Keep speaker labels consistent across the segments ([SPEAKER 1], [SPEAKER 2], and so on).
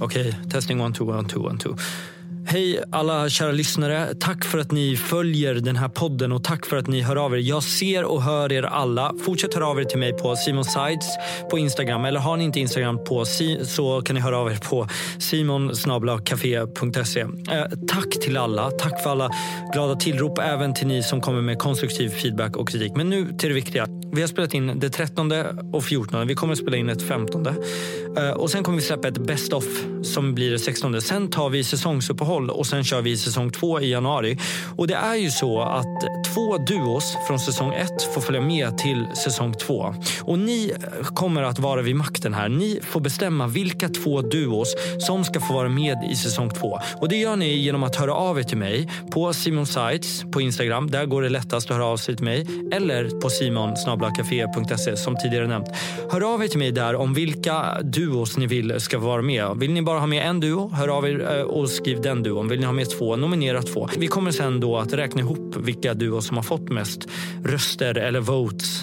[SPEAKER 1] Okej, testning one, two, one, two, one, two. Hej alla kära lyssnare. Tack för att ni följer den här podden och tack för att ni hör av er. Jag ser och hör er alla. Fortsätt höra av er till mig på Simon Sides på Instagram. Eller har ni inte Instagram på si- så kan ni höra av er på simonsnablacafé.se. Eh, tack till alla. Tack för alla glada tillrop. Även till ni som kommer med konstruktiv feedback och kritik. Men nu till det viktiga. Vi har spelat in det 13 och 14. Vi kommer att spela in ett 15. Eh, Och sen kommer vi släppa ett best of som blir det 16. Sen tar vi säsongsuppehåll och sen kör vi säsong 2 i januari. Och det är ju så att två duos från säsong 1 får följa med till säsong 2. Och ni eh, kommer att vara vid makten här. Ni får bestämma vilka två duos som ska få vara med i säsong 2. Och det gör ni genom att höra av er till mig på Simon Sites på Instagram. Där går det lättast att höra av sig till mig. Eller på simonsnablacafé.se som tidigare nämnt. Hör av er till mig där om vilka duos ni vill ska vara med. Vill ni bara ha med en duo, hör av er eh, och skriv den duon. Vill ni ha med två, nominera två. Vi kommer sen då att räkna ihop vilka duos som har fått mest röster eller votes.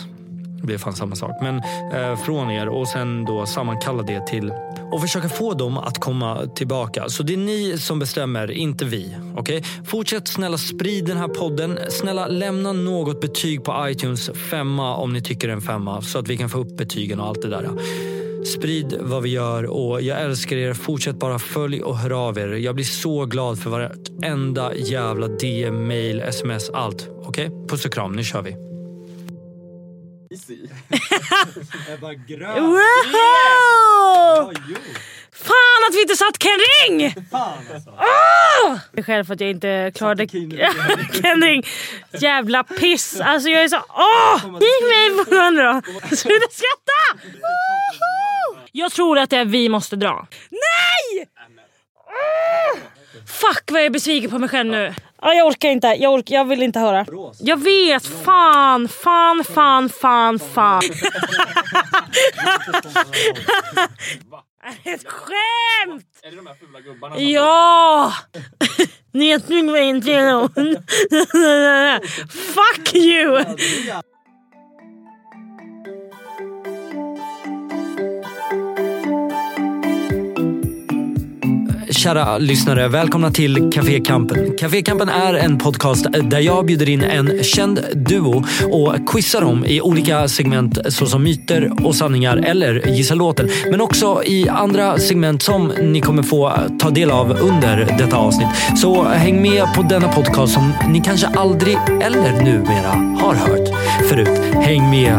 [SPEAKER 1] Det blir fan samma sak. Men eh, från er och sen då sammankalla det till och försöka få dem att komma tillbaka. Så det är ni som bestämmer, inte vi. Okej? Fortsätt snälla sprid den här podden. Snälla lämna något betyg på iTunes femma om ni tycker en femma så att vi kan få upp betygen och allt det där. Sprid vad vi gör och jag älskar er. Fortsätt bara följ och hör av er. Jag blir så glad för varenda jävla DM, mail, sms, allt. Okej? Puss och kram, nu kör vi.
[SPEAKER 2] Ebba
[SPEAKER 3] Wow!
[SPEAKER 2] Grön! Jo,
[SPEAKER 3] Fan att vi inte satt Ken Ring! Ah!
[SPEAKER 2] fan alltså!
[SPEAKER 3] mig själv för att jag inte klarade
[SPEAKER 2] Satte Kino.
[SPEAKER 3] Ken Ring. Jävla piss! Alltså jag är så... Åh! Giv mig på den då! Sluta skratta! Woho! Jag tror att det är vi måste dra. Nej! Ah! Fuck vad jag är besviken på mig själv nu. Ja, jag orkar inte, jag, orkar, jag vill inte höra. Jag vet, fan, fan, fan, fan, fan. Ett skämt!
[SPEAKER 4] Är det de här fula gubbarna?
[SPEAKER 3] Ja! Njutning var inte någon. Fuck you!
[SPEAKER 1] Kära lyssnare, välkomna till Café Kampen. Café Kampen är en podcast där jag bjuder in en känd duo och quizar dem i olika segment såsom myter och sanningar eller gissa låten. Men också i andra segment som ni kommer få ta del av under detta avsnitt. Så häng med på denna podcast som ni kanske aldrig eller numera har hört förut. Häng med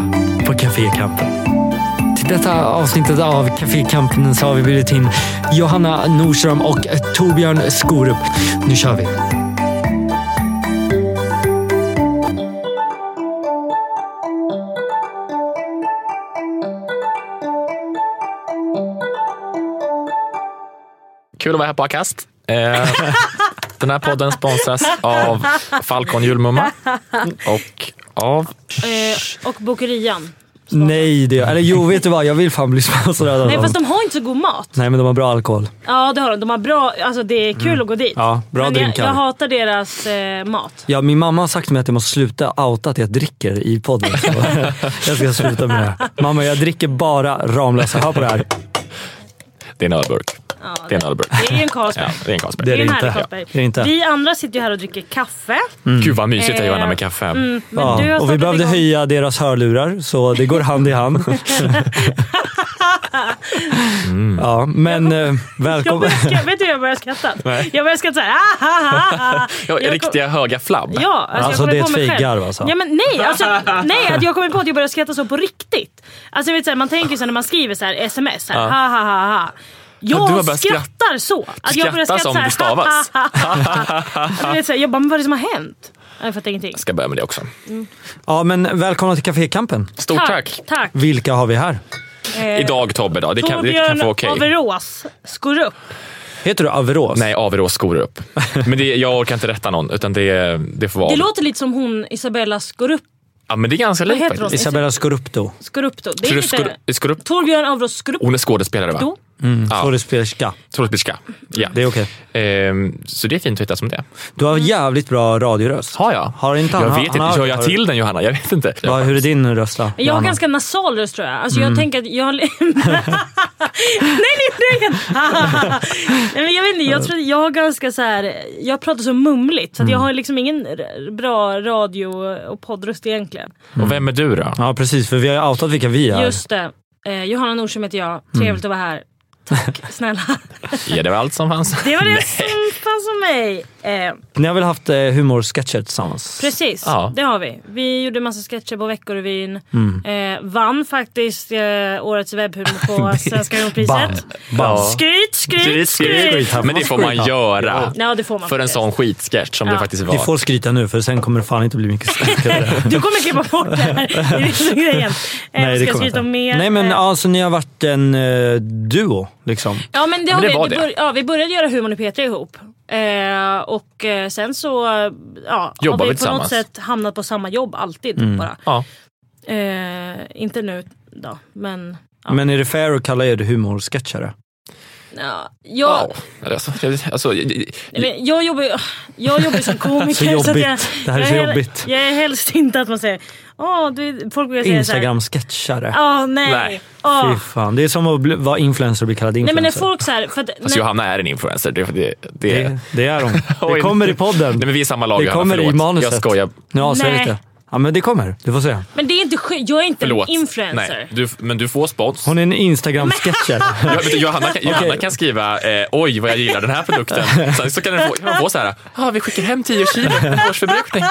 [SPEAKER 1] på Café Kampen. Till detta avsnittet av Café Kampen så har vi bjudit in Johanna Nordström och Torbjörn Skorup. Nu kör vi!
[SPEAKER 4] Kul att vara här på Akast. Eh, den här podden sponsras av Falcon Julmumma och av...
[SPEAKER 3] Eh, och bokerian.
[SPEAKER 1] Nej, det Eller jo, vet du vad? Jag vill fan bli sponsrad av
[SPEAKER 3] Nej
[SPEAKER 1] dem.
[SPEAKER 3] fast de har inte så god mat.
[SPEAKER 1] Nej, men de har bra alkohol.
[SPEAKER 3] Ja det har de. De har bra, alltså det är kul att gå dit.
[SPEAKER 1] Mm. Ja, bra
[SPEAKER 3] Men jag,
[SPEAKER 1] drinkar.
[SPEAKER 3] jag hatar deras eh, mat.
[SPEAKER 1] Ja, min mamma har sagt till mig att jag måste sluta outa att jag dricker i podden. Så jag ska sluta med det. här. Mamma, jag dricker bara Ramlösa. Hör på det här.
[SPEAKER 4] Det är en ölburk.
[SPEAKER 3] Ja,
[SPEAKER 4] Det är en ölburk.
[SPEAKER 3] det är ju en Carlsberg.
[SPEAKER 4] Ja, det är en Carlsberg.
[SPEAKER 1] Det är det
[SPEAKER 3] en
[SPEAKER 1] inte.
[SPEAKER 3] härlig Carlsberg.
[SPEAKER 1] Det är det inte.
[SPEAKER 3] Vi andra sitter ju här och dricker kaffe.
[SPEAKER 1] Mm.
[SPEAKER 4] Gud vad mysigt det är Johanna
[SPEAKER 3] Eh,
[SPEAKER 4] med kaffe.
[SPEAKER 3] Mm, men
[SPEAKER 1] Ja,
[SPEAKER 3] du har
[SPEAKER 1] och vi
[SPEAKER 3] startat
[SPEAKER 1] behövde
[SPEAKER 3] igång-
[SPEAKER 1] höja deras hörlurar, så det går hand i hand. Ja, men eh,
[SPEAKER 3] Jag
[SPEAKER 1] välkommen.
[SPEAKER 3] börjar skratta, vet du hur jag börjar skratta? Jag börjar skratta såhär. ah, ah, ah, ah.
[SPEAKER 4] Ja,
[SPEAKER 3] Jag kom-
[SPEAKER 4] riktiga höga flabb.
[SPEAKER 3] Ja, alltså,
[SPEAKER 1] Alltså,
[SPEAKER 3] jag kommer
[SPEAKER 1] det är
[SPEAKER 3] på
[SPEAKER 1] ett
[SPEAKER 3] mig själv.
[SPEAKER 1] fejkgarv, alltså.
[SPEAKER 3] Ja, men nej, alltså, nej, att jag kommer på att jag började skratta så på riktigt. Alltså, jag vet, så här, man tänker ju så här, när man skriver så här, sms, så här, ha, ha, ha, ha. Jag
[SPEAKER 4] Ja, du har börjat
[SPEAKER 3] skrattar så. Att jag börjar skratta
[SPEAKER 4] Skratta som
[SPEAKER 3] så här,
[SPEAKER 4] det stavas.
[SPEAKER 3] ha, ha, ha, ha. Alltså, du vet, så här, jag bara, men vad är det som har hänt? Jag fattar ingenting.
[SPEAKER 4] Ska börja med det också.
[SPEAKER 1] Ja, men välkomna till Cafékampen.
[SPEAKER 4] Stort tack.
[SPEAKER 3] Tack.
[SPEAKER 1] Vilka har vi här?
[SPEAKER 3] Eh,
[SPEAKER 4] Idag Tobbe då. Det kan, det kan
[SPEAKER 3] Torbjörn
[SPEAKER 4] få okej.
[SPEAKER 3] Averås, Skorup.
[SPEAKER 1] Heter du Averås?
[SPEAKER 4] Nej, Averås skor upp. Men det, jag orkar inte rätta någon utan det, det får vara
[SPEAKER 3] Det
[SPEAKER 4] Aver-
[SPEAKER 3] låter lite som hon Isabella Skorup.
[SPEAKER 4] ja, men det är ganska likt
[SPEAKER 3] heter hon?
[SPEAKER 4] faktiskt.
[SPEAKER 1] Isabella Scorupto.
[SPEAKER 4] Mm.
[SPEAKER 3] Skorupto. Det
[SPEAKER 4] Tror
[SPEAKER 3] är
[SPEAKER 4] du
[SPEAKER 3] lite...
[SPEAKER 4] skor, skor upp?
[SPEAKER 3] Torbjörn Averås Skorup.
[SPEAKER 4] Hon är skådespelare va?
[SPEAKER 3] Då?
[SPEAKER 1] Mm.
[SPEAKER 4] Ja.
[SPEAKER 1] Skådespelerska.
[SPEAKER 4] Skådespelerska. Ja.
[SPEAKER 1] Det är okej.
[SPEAKER 4] Ehm, så det är fint att hitta som det.
[SPEAKER 1] Du har jävligt bra radioröst.
[SPEAKER 4] Har jag?
[SPEAKER 1] Har inte han-
[SPEAKER 4] jag
[SPEAKER 1] han
[SPEAKER 4] vet inte.
[SPEAKER 1] har-
[SPEAKER 4] Gör jag till den Johanna? Jag vet inte.
[SPEAKER 1] Vad- hur är din röst då?
[SPEAKER 3] Jag har ganska nasal röst tror jag. Alltså,
[SPEAKER 4] Mm.
[SPEAKER 3] jag tänker att jag... nej, nej, nej! nej men jag vet inte, jag, tror, jag har ganska så här... Jag pratar så mumligt så att jag
[SPEAKER 4] Mm.
[SPEAKER 3] har liksom ingen r- bra radio och poddröst egentligen.
[SPEAKER 4] Och vem är du då?
[SPEAKER 1] Ja precis, för vi har ju outat vilka vi är.
[SPEAKER 3] Just det. Eh, Johanna Nordström heter jag. Trevligt
[SPEAKER 4] Mm.
[SPEAKER 3] att vara här. Tack snälla.
[SPEAKER 4] Ja, det var allt som fanns.
[SPEAKER 3] Det var det
[SPEAKER 4] Nej.
[SPEAKER 3] som fanns om mig. Eh,
[SPEAKER 1] Ni har väl haft eh, humorsketcher tillsammans?
[SPEAKER 3] precis,
[SPEAKER 4] Ja. Mm.
[SPEAKER 3] det har vi. Vi gjorde massa sketcher på Veckorevyn. Eh, vann faktiskt eh, årets webbhumor på Svenska
[SPEAKER 1] Bam.
[SPEAKER 3] Humorpriset.
[SPEAKER 1] Bam.
[SPEAKER 4] Ja.
[SPEAKER 3] Skryt, skryt, skryt!
[SPEAKER 1] skryt. här får
[SPEAKER 4] Men det
[SPEAKER 1] man
[SPEAKER 4] får man
[SPEAKER 1] skryta.
[SPEAKER 4] göra.
[SPEAKER 3] Ja, det får man
[SPEAKER 4] För en
[SPEAKER 3] faktiskt.
[SPEAKER 4] sån skitsketch som det
[SPEAKER 3] Ja.
[SPEAKER 4] faktiskt
[SPEAKER 1] Ni
[SPEAKER 4] var.
[SPEAKER 1] får skryta nu för sen kommer det fan inte bli mycket skryt. över
[SPEAKER 3] Du kommer klippa bort det här. Det är det som är grejen. Eh, ska jag skryta om mer?
[SPEAKER 1] Nej men
[SPEAKER 3] Eh,
[SPEAKER 1] alltså ni har varit en eh, duo liksom.
[SPEAKER 3] Ja men det,
[SPEAKER 4] Men
[SPEAKER 3] har
[SPEAKER 4] det
[SPEAKER 3] vi,
[SPEAKER 4] var
[SPEAKER 3] vi,
[SPEAKER 4] det.
[SPEAKER 3] bör, ja, vi började göra Humorn och Petra ihop. Eh, och eh, sen så eh, ja,
[SPEAKER 4] Jobbar vi
[SPEAKER 3] har vi på något
[SPEAKER 4] tillsammans.
[SPEAKER 3] sätt hamnat på samma jobb alltid. Bara.
[SPEAKER 4] Ja.
[SPEAKER 3] Eh, inte nu då, men ja.
[SPEAKER 1] Men är det fair att kalla er humorsketchare?
[SPEAKER 3] ja, jag,
[SPEAKER 4] Wow. Alltså, jag- alltså, jag-
[SPEAKER 3] Nej, men jag jobbar ju jag jobbar ju som komiker.
[SPEAKER 1] Så
[SPEAKER 3] att
[SPEAKER 1] jobbigt.
[SPEAKER 3] jag,
[SPEAKER 1] Det här är
[SPEAKER 3] jag
[SPEAKER 1] så
[SPEAKER 3] hel-
[SPEAKER 1] jobbigt.
[SPEAKER 3] Jag är helst inte att man säger Åh, du, folk brukar säga så här.
[SPEAKER 1] Instagram-sketchare?
[SPEAKER 3] Ja, nej.
[SPEAKER 4] Nej.
[SPEAKER 3] Åh.
[SPEAKER 1] Fy fan, det är som att bli, vara influencer och bli kallad
[SPEAKER 3] Nej
[SPEAKER 1] influencer.
[SPEAKER 3] men när folk så här, för att,
[SPEAKER 4] Alltså
[SPEAKER 3] när,
[SPEAKER 4] Johanna är en influencer. Det, det, det,
[SPEAKER 1] det, det är de.
[SPEAKER 4] Oj.
[SPEAKER 1] Det kommer i podden.
[SPEAKER 4] Nej men vi är samma lag
[SPEAKER 1] det
[SPEAKER 4] Johanna,
[SPEAKER 1] kommer i
[SPEAKER 4] förlåt.
[SPEAKER 1] manuset.
[SPEAKER 4] Jag skojar.
[SPEAKER 1] Ja, säg
[SPEAKER 3] Nej.
[SPEAKER 1] lite. Ja men det kommer, du får se.
[SPEAKER 3] Men det är inte sk- jag är inte
[SPEAKER 4] Förlåt.
[SPEAKER 3] en influencer.
[SPEAKER 4] Nej, du, men du får spons.
[SPEAKER 1] Hon är en Instagram-sketcher.
[SPEAKER 4] Jo- vet du, Johanna, kan, Johanna kan skriva eh, oj vad jag gillar den här produkten. Sen så kan den få, kan man få så här, ah, vi skickar hem 10 kilo årsförbrukning.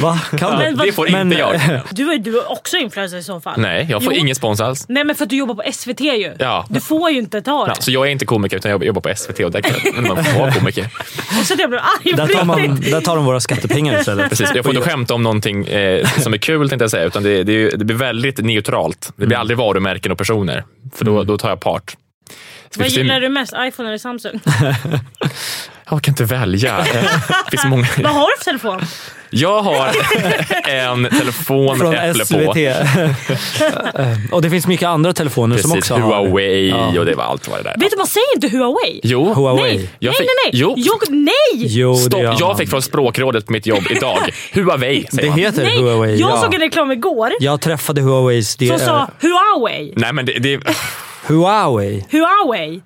[SPEAKER 1] Va? Kan du?
[SPEAKER 3] Men vad-
[SPEAKER 4] Det får
[SPEAKER 1] Men- eh,
[SPEAKER 4] inte jag.
[SPEAKER 3] Du, är- du är också influencer i så fall.
[SPEAKER 4] Nej, jag får
[SPEAKER 3] Jo.
[SPEAKER 4] ingen spons alls.
[SPEAKER 3] Nej men för att du jobbar på SVT ju.
[SPEAKER 4] Ja.
[SPEAKER 3] Du får ju inte ta det.
[SPEAKER 4] Så jag är inte komiker utan jag jobbar på SVT och där kan men man får vara komiker.
[SPEAKER 3] Och så att jag blev arg på
[SPEAKER 1] Där tar, man,
[SPEAKER 3] riktigt.
[SPEAKER 1] där tar de våra skattepengar istället.
[SPEAKER 4] Precis. Jag får inte skämta om någonting eh, som är kul tänkte jag säga utan det, det, är ju- det blir väldigt neutralt. Det
[SPEAKER 1] Mm.
[SPEAKER 4] blir aldrig varumärken och personer för då, då tar jag part. Så
[SPEAKER 3] Vad
[SPEAKER 4] finns det-
[SPEAKER 3] gillar du mest? iPhone eller Samsung?
[SPEAKER 4] Jag kan inte välja. Eh, Det finns många.
[SPEAKER 3] Vad har du för telefon?
[SPEAKER 4] Jag har en telefon
[SPEAKER 1] Från
[SPEAKER 4] med Apple
[SPEAKER 1] SVT.
[SPEAKER 4] på.
[SPEAKER 1] och det finns mycket andra telefoner som
[SPEAKER 4] Precis,
[SPEAKER 1] också har det.
[SPEAKER 4] Huawei och det var allt vad det där.
[SPEAKER 3] Vet du vad, säg inte Huawei!
[SPEAKER 4] Jo,
[SPEAKER 1] Huawei.
[SPEAKER 3] Nej,
[SPEAKER 4] Jag
[SPEAKER 3] nej,
[SPEAKER 4] fick-
[SPEAKER 3] nej, nej!
[SPEAKER 4] Jo.
[SPEAKER 3] Jag, nej!
[SPEAKER 1] Jo, det
[SPEAKER 4] Stopp,
[SPEAKER 1] gör
[SPEAKER 4] jag
[SPEAKER 1] man.
[SPEAKER 4] fick från språkrådet på mitt jobb idag. Huawei säger
[SPEAKER 1] Det
[SPEAKER 4] man.
[SPEAKER 1] heter
[SPEAKER 3] nej.
[SPEAKER 1] Huawei.
[SPEAKER 3] jag
[SPEAKER 1] ja.
[SPEAKER 3] såg en reklam igår
[SPEAKER 1] jag träffade Huaweis... Det
[SPEAKER 3] som
[SPEAKER 1] är-
[SPEAKER 3] sa Huawei,
[SPEAKER 4] Nej men det, det,
[SPEAKER 1] Huawei.
[SPEAKER 3] Huawei,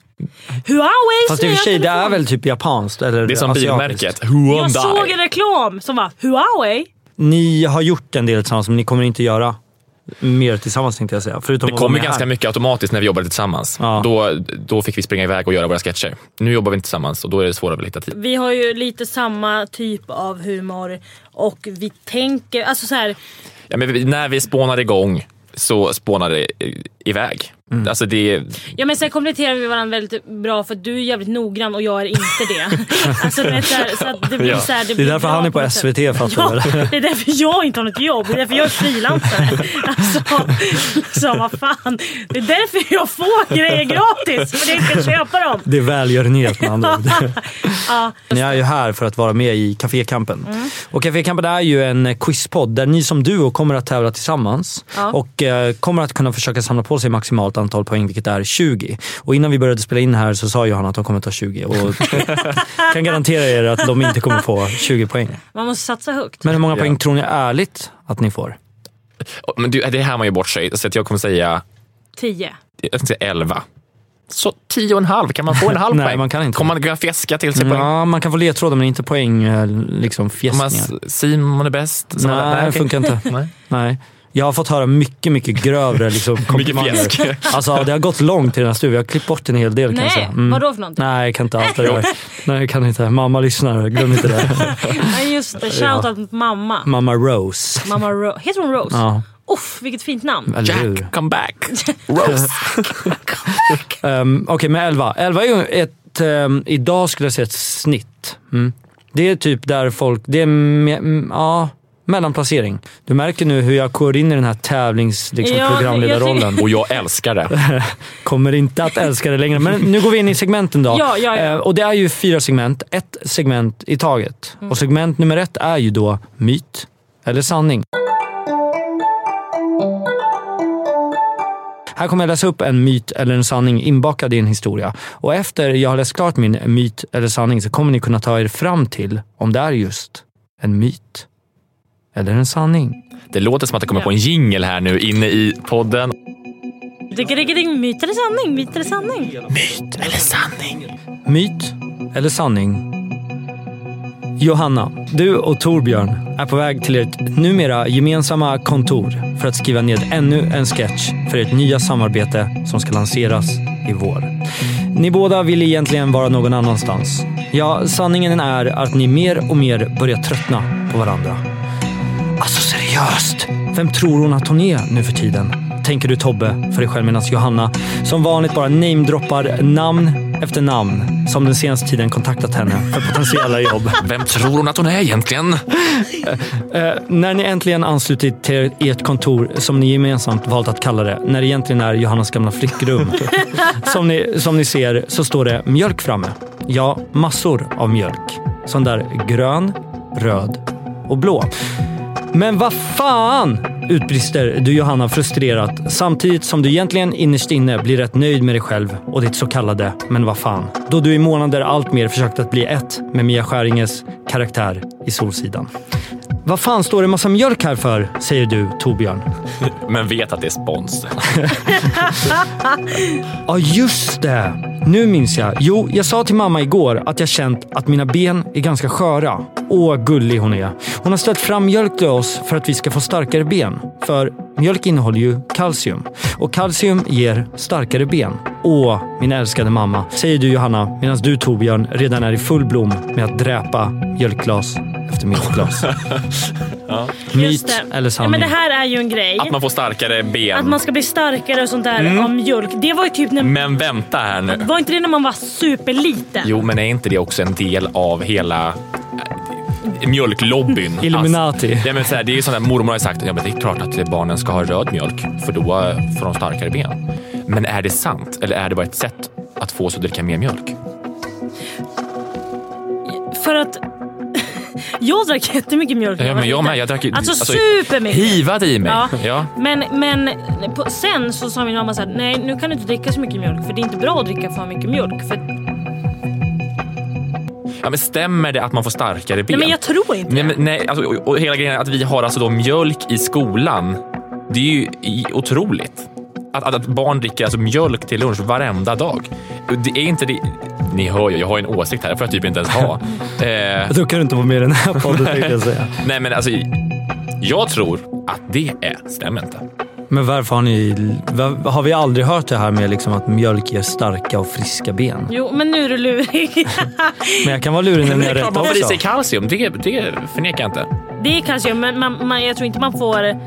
[SPEAKER 3] Huawei.
[SPEAKER 1] Fast i och för sig, det är väl typ japanskt? Eller
[SPEAKER 4] det är som
[SPEAKER 1] asiatiskt.
[SPEAKER 4] bilmärket.
[SPEAKER 3] Jag såg en
[SPEAKER 4] Hyundai.
[SPEAKER 3] reklam som var Huawei.
[SPEAKER 1] Ni har gjort en del tillsammans, men ni kommer inte göra mer tillsammans tänkte jag säga. Förutom
[SPEAKER 4] Det
[SPEAKER 1] att vara
[SPEAKER 4] kom ju
[SPEAKER 1] med
[SPEAKER 4] ganska
[SPEAKER 1] här.
[SPEAKER 4] mycket automatiskt när vi jobbade tillsammans.
[SPEAKER 1] Ja.
[SPEAKER 4] Då, då fick vi springa iväg och göra våra sketcher. Nu jobbar vi inte tillsammans och då är det svårare att hitta tid.
[SPEAKER 3] Vi har ju lite samma typ av humor och vi tänker, alltså så här,
[SPEAKER 4] Ja, men vi, när vi spånade igång så spånade det i- iväg.
[SPEAKER 1] Mm.
[SPEAKER 4] Alltså det,
[SPEAKER 3] Ja men sen kompletterar vi varandra väldigt bra för att du är jävligt noggrann och jag är inte det. alltså, du vet, så, här, så att det blir
[SPEAKER 4] Ja.
[SPEAKER 3] så här, det,
[SPEAKER 1] Det
[SPEAKER 3] blir
[SPEAKER 1] är därför
[SPEAKER 3] bra
[SPEAKER 1] han är på
[SPEAKER 3] något sätt.
[SPEAKER 1] SVT fattar
[SPEAKER 3] Ja,
[SPEAKER 1] du väl?
[SPEAKER 3] det är därför jag inte har något jobb. Det är därför jag är frilansare. Alltså, alltså, vad fan. Det är därför jag får grejer gratis. För jag kan köpa dem.
[SPEAKER 1] Det är välgörenhet med andra ord.
[SPEAKER 3] Ja,
[SPEAKER 1] Ni är ju här för att vara med i Café Kampen. Och Café Kampen är ju en quizpodd där ni som duo kommer att tävla tillsammans
[SPEAKER 3] Ja.
[SPEAKER 1] och eh, kommer att kunna försöka samla på sig maximalt antal poäng, vilket är 20. Och innan vi började spela in här så sa Johanna att de kommer ta 20 och kan garantera er att de inte kommer få 20 poäng.
[SPEAKER 3] man måste satsa högt.
[SPEAKER 1] Men hur många
[SPEAKER 4] Ja.
[SPEAKER 1] poäng tror ni ärligt att ni får?
[SPEAKER 4] men det, det här man gör bort sig. Så att jag kommer säga,
[SPEAKER 3] Tio.
[SPEAKER 4] jag tänkte säga 11. Så 10 och en halv, kan man få en halv
[SPEAKER 1] Nej,
[SPEAKER 4] poäng?
[SPEAKER 1] man kan inte.
[SPEAKER 4] Kommer man kunna fjäska till sig poäng?
[SPEAKER 1] Ja, man kan få ledtrådar men inte poäng, eh, liksom
[SPEAKER 4] Om man-
[SPEAKER 1] fjäsningar.
[SPEAKER 4] Simon är bäst.
[SPEAKER 1] Nej, det funkar inte.
[SPEAKER 4] Nej.
[SPEAKER 1] Nej. Jag har fått höra mycket, mycket grövre liksom, komplimanger.
[SPEAKER 4] fjäsk.
[SPEAKER 1] Alltså det har gått långt i den här studion. Jag har klippt bort en hel del kan jag
[SPEAKER 3] Nej,
[SPEAKER 1] säga. Mm.
[SPEAKER 3] vadå för någonting?
[SPEAKER 1] Nej, jag kan inte allt det där. Nej, jag kan inte. Mamma lyssnar, glöm inte det.
[SPEAKER 3] Nej. Just det, shoutout mot mamma.
[SPEAKER 1] Mamma Rose.
[SPEAKER 3] Mamma Ro- Heter hon Rose?
[SPEAKER 1] Ja,
[SPEAKER 3] Uff, vilket fint namn.
[SPEAKER 1] eller hur?
[SPEAKER 4] Jack, come back. Rose.
[SPEAKER 1] Um, Okej, men 11. 11 är ju ett, ehm, idag skulle jag säga ett snitt. Mm. Det är typ där folk, det är, me, mm, ja, mellanplacering. Du märker nu hur jag går in i den här tävlings, liksom,
[SPEAKER 3] Ja, jag
[SPEAKER 1] programledarrollen.
[SPEAKER 4] Och jag älskar det.
[SPEAKER 1] Kommer inte att älska det längre. Men nu går vi in i segmenten då.
[SPEAKER 3] Ja, ja, ja.
[SPEAKER 1] Eh, Och det är ju fyra segment, ett segment i taget.
[SPEAKER 3] Mm.
[SPEAKER 1] Och segment nummer ett är ju då myt eller sanning. Här kommer jag läsa upp en myt eller en sanning inbakad i en historia. Och efter jag har läst klart min myt eller sanning så kommer ni kunna ta er fram till om det är just en myt eller en sanning.
[SPEAKER 4] Det låter som att det kommer
[SPEAKER 3] Ja.
[SPEAKER 4] på en jingle här nu inne i podden.
[SPEAKER 3] Digga, digga, digga, myt eller sanning? Myt eller sanning?
[SPEAKER 4] Myt eller sanning?
[SPEAKER 1] Myt eller sanning? Johanna, du och Torbjörn är på väg till ert numera gemensamma kontor för att skriva ned ännu en sketch för ert nya samarbete som ska lanseras i vår. Ni båda vill egentligen vara någon annanstans. Ja, sanningen är att ni mer och mer börjar tröttna på varandra. Alltså seriöst! Vem tror hon att hon är nu för tiden? Tänker du Tobbe för dig själv medan Johanna som vanligt bara namedroppar namn efter namn som den senaste tiden kontaktat henne för potentiella jobb.
[SPEAKER 4] Vem tror hon att hon är egentligen?
[SPEAKER 1] När ni äntligen anslutit till ert kontor som ni gemensamt valt att kalla det, när det egentligen är Johannas gamla flickrum. som, ni, som ni ser så står det mjölk framme. Ja, massor av mjölk. Sån där grön, röd och blå. Men vad fan! Utbrister du Johanna frustrerat samtidigt som du egentligen innerst inne blir rätt nöjd med dig själv och ditt så kallade “men vad fan”. Då du i månader alltmer försökt att bli ett med Mia Skäringes karaktär i Solsidan. Vad fan står det massa mjölk här för? Säger du, Torbjörn.
[SPEAKER 4] Men vet att det är spons.
[SPEAKER 1] Ja, just det. Nu minns jag. Jo, jag sa till mamma igår att jag känt att mina ben är ganska sköra. Åh, gullig hon är. Hon har ställt fram mjölk till oss för att vi ska få starkare ben. För mjölk innehåller ju kalcium. Och kalcium ger starkare ben. Åh, min älskade mamma. Säger du Johanna, medan du Torbjörn redan är i full blom med att dräpa mjölkglas efter mjölkglas.
[SPEAKER 3] Just
[SPEAKER 1] Myt
[SPEAKER 3] det.
[SPEAKER 1] eller
[SPEAKER 3] Ja,
[SPEAKER 1] sanning?
[SPEAKER 3] men det här är ju en grej.
[SPEAKER 4] Att man Mm. får starkare
[SPEAKER 3] Att
[SPEAKER 4] ben.
[SPEAKER 3] man ska bli starkare och sånt där av mjölk. Det var ju typ när...
[SPEAKER 4] Men vänta här nu.
[SPEAKER 3] Var inte det när man var superliten?
[SPEAKER 4] Jo, men är inte det också en del av hela äh, mjölklobbyn?
[SPEAKER 1] Illuminati.
[SPEAKER 4] Alltså, ja, men så här, det är ju sånt där mormor har sagt. Ja, men det är klart att barnen ska ha röd mjölk för då eh, får de starkare ben. Men är det sant eller är det bara ett sätt att få oss att dricka mer mjölk?
[SPEAKER 3] För att... jag drack jättemycket mjölk. när
[SPEAKER 4] Ja,
[SPEAKER 3] var
[SPEAKER 4] men jag
[SPEAKER 3] liten.
[SPEAKER 4] med. Jag drack ju-
[SPEAKER 3] Alltså,
[SPEAKER 4] alltså,
[SPEAKER 3] supermycket.
[SPEAKER 4] Hivad i mig.
[SPEAKER 3] Ja.
[SPEAKER 4] Ja.
[SPEAKER 3] Men, men på, sen så sa min mamma så här, nej nu kan du inte dricka så mycket mjölk för det är inte bra att dricka för mycket mjölk. För, nej
[SPEAKER 4] Ja, men stämmer det att man får starkare ben?
[SPEAKER 3] men jag tror inte
[SPEAKER 4] Nej,
[SPEAKER 3] det.
[SPEAKER 4] men, nej, alltså, och, och hela grejen är att vi har alltså då mjölk i skolan. Det är ju i- otroligt. Att, att, att barn dricker alltså mjölk till lunch varenda dag. Det är inte det. Ni hör ju, jag har ju en åsikt här. Det får jag typ inte ens ha. eh,
[SPEAKER 1] Då kan du inte vara med i den här podden tänkte jag säga.
[SPEAKER 4] nej, men alltså. Jag tror att det är, stämmer inte.
[SPEAKER 1] Men varför har ni... var- Har vi aldrig hört det här med liksom att mjölk ger starka och friska ben?
[SPEAKER 3] Jo men nu är du lurig.
[SPEAKER 1] Men jag kan vara lurig när
[SPEAKER 4] Men
[SPEAKER 1] ni
[SPEAKER 4] det är
[SPEAKER 1] har rätt
[SPEAKER 4] klart man får i
[SPEAKER 1] också.
[SPEAKER 4] sig kalcium. Det, det förnekar jag inte.
[SPEAKER 3] det är kalcium men man, man, jag tror inte man får